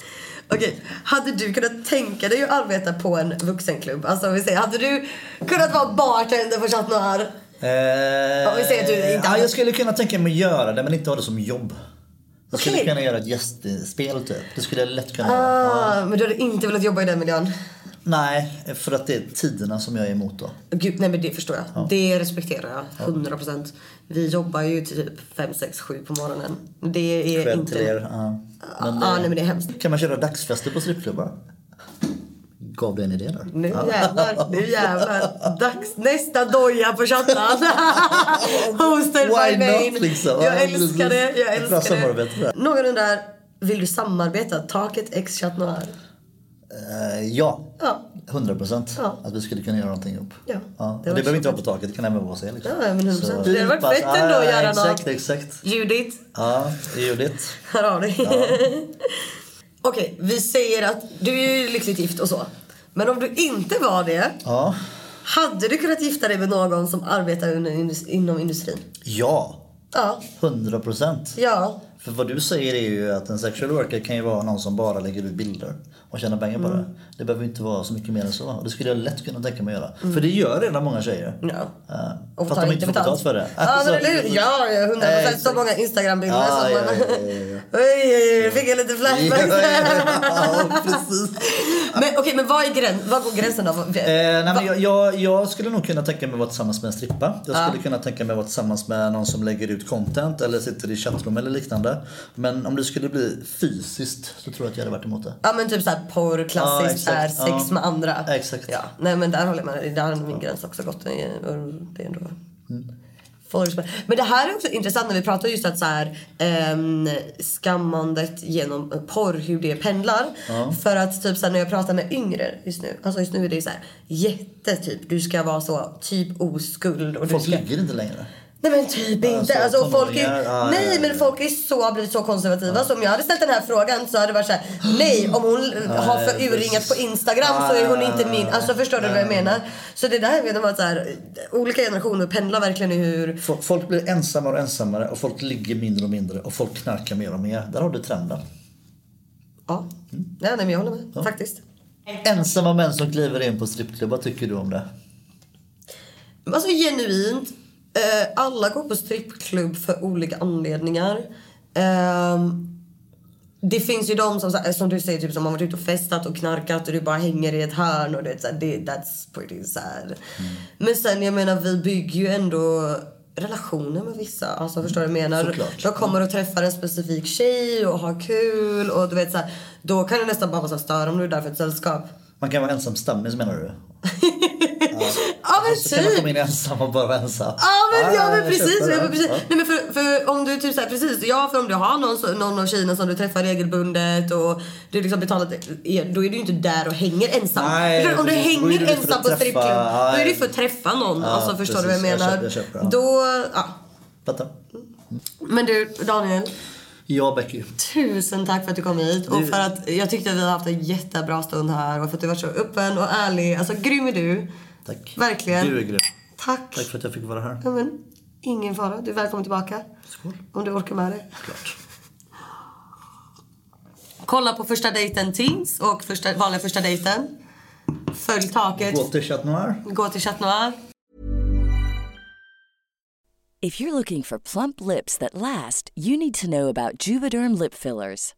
S1: Okej, hade du kunnat tänka dig att arbeta på en vuxenklubb? Alltså om vi säger, hade du kunnat vara bartender på Chat Noir?
S2: Eh,
S1: Om vi säger att du inte
S2: ja,
S1: hade-
S2: jag skulle kunna tänka mig att göra det men inte ha det som jobb. Jag skulle
S1: Okej.
S2: kunna göra ett gästspel typ. Det skulle jag lätt kunna göra.
S1: Ah, men du hade inte velat jobba i den miljön?
S2: Nej, för att det är tiderna som jag är emot då.
S1: Gud, nej men det förstår jag. Det respekterar jag. 100%. Vi jobbar ju typ 5, 6, 7 på morgonen. Det är
S2: Cred
S1: inte...
S2: till er. Ja. Men,
S1: ah,
S2: eh,
S1: nej men det är hemskt.
S2: Kan man köra dagsfester på strippklubbar? Gav det en idé där?
S1: Nu jävlar, nu jävlar. Dags, nästa doja på chattan. Hosted
S2: [LAUGHS] Why
S1: by Maine.
S2: not, liksom? Ja,
S1: Jag älskar det,
S2: precis.
S1: jag
S2: Ett bra
S1: älskar det.
S2: samarbete där.
S1: Någon undrar, vill du samarbeta? Taket X Chat Noir.
S2: Eh, Ja,
S1: Ja.
S2: 100 procent.
S1: Ja.
S2: Att vi skulle kunna göra någonting ihop.
S1: Ja, det
S2: och
S1: var
S2: Det, behöver
S1: så
S2: inte vara på taket, det kan även vara sig. Liksom.
S1: Ja, men 100%.
S2: Så-
S1: Det hade varit fett ändå att
S2: Ja,
S1: göra något.
S2: Exakt, exakt.
S1: Judith,
S2: Ja, Judith.
S1: här har du. [LAUGHS] Okej, vi säger att du är ju lyckligt gift och så. Men om du inte var det,
S2: Ja.
S1: hade du kunnat gifta dig med någon som arbetar under indus- inom industrin?
S2: Ja,
S1: Ja,
S2: 100 procent.
S1: ja.
S2: För vad du säger är ju att en sexual worker kan ju vara någon som bara lägger ut bilder och tjänar pengar
S1: Mm.
S2: på det. Det behöver ju inte vara så mycket mer än så. Och Det skulle jag lätt kunna tänka mig att göra.
S1: Mm.
S2: För det gör redan många tjejer.
S1: Ja.
S2: Uh, fast de inte får betalt för det.
S1: Ja, men eller hur?
S2: precis.
S1: Ja, ja, 100
S2: Eh,
S1: procent. Så
S2: exakt.
S1: många Instagram-bilder
S2: Ja,
S1: som
S2: ja,
S1: man...
S2: ja, ja,
S1: [LAUGHS] Oj, oj, oj, fick jag lite flashbacks.
S2: Ja, ja, ja, precis.
S1: [LAUGHS] men okej, men vad är gräns, vad går gränsen då?
S2: Eh, nej,
S1: Va-
S2: men jag, jag, jag skulle nog kunna tänka mig att vara tillsammans med en strippa. Jag skulle kunna tänka mig att vara tillsammans med någon som lägger ut content eller sitter i chattrum eller liknande. Men om det skulle bli fysiskt så tror jag att jag hade varit emot det.
S1: Ja men typ såhär porr,
S2: Ja,
S1: klassiskt,
S2: exakt.
S1: är sex
S2: Ja.
S1: med andra.
S2: Exakt.
S1: Ja, nej men där håller jag med dig. Där har min gräns också gått. Det är ändå... Får- Men det här är också intressant när vi pratar just att så här, ehm, skammandet genom porr, hur det pendlar. För att typ så här, när jag pratar med yngre just nu, alltså just nu är det så här jätte typ, du ska vara så typ oskuld. Och du
S2: Folk
S1: ska...
S2: ligger inte längre.
S1: Nej men typ inte.
S2: Alltså,
S1: Alltså, folk är,
S2: tonåringar, ja, ja,
S1: nej
S2: ja.
S1: men folk är så, blivit så konservativa. Så om jag hade ställt den här frågan så hade det varit såhär. Nej om hon har för
S2: precis.
S1: urringat på Instagram så är hon inte min. Alltså förstår du vad jag menar? Så det där vet jag så här, Olika generationer pendlar verkligen i hur.
S2: Fo- Folk blir ensammare och ensammare och folk ligger mindre och mindre och folk knarkar mer och mer. Där har du trenden.
S1: Ja.
S2: Mm.
S1: Nej, nej men jag håller med. Faktiskt.
S2: Ensamma män som kliver in på strippklubbar, tycker du om det?
S1: Alltså genuint. Eh, alla går på strippklubb för olika anledningar. Ehm, det finns ju de som, så här, som du säger typ, som har varit ute och festat och knarkat och du bara hänger i ett hörn och det, är så här, det, that's pretty sad. Men sen jag menar vi bygger ju ändå relationer med vissa. Alltså förstår du vad jag menar?
S2: Såklart.
S1: De kommer och träffar en specifik tjej och har kul och du vet så här, Då kan det nästan bara vara så här, stör om du är där för ett sällskap.
S2: Man kan vara ensam stammis menar du?
S1: [LAUGHS] Ja men
S2: Så kan man
S1: typ!
S2: komma in ensam och bara vara ensam.
S1: Ja men, ja, men precis.
S2: Ah, köper
S1: Ja, men
S2: det.
S1: precis.
S2: Ja.
S1: Nej, men för, för om du typ så här, precis, ja för om du har någon, så- någon av tjejerna som du träffar regelbundet och du liksom betalat, då är du ju inte där och hänger ensam.
S2: Nej,
S1: Förstår du? om du
S2: precis. Då är
S1: hänger
S2: du där för
S1: ensam
S2: att
S1: på
S2: träffa-
S1: strippklubb, då är du
S2: nej.
S1: för att träffa någon.
S2: Ja,
S1: alltså förstår du vad jag
S2: precis. Jag
S1: menar?
S2: köper- jag köper, ja.
S1: Då, ja.
S2: Fattar.
S1: Men du Daniel,
S2: Ja Becky.
S1: tusen tack för att du kom hit och för att jag tyckte att vi har haft en jättebra stund här och för att du var så öppen och ärlig. Alltså grym är du.
S2: Tack.
S1: Verkligen.
S2: Du är grym.
S1: Tack.
S2: Tack för att jag fick vara här.
S1: Ja, men, ingen fara, du är välkommen tillbaka. Om du orkar med det.
S2: Klart.
S1: Kolla på första dejten Tings och första, vanliga första dejten. Följ taket.
S2: Gå till Chat Noir.
S1: Gå till Chat Noir.
S5: If you're looking for plump lips that last, you need to know about Juvederm lip fillers.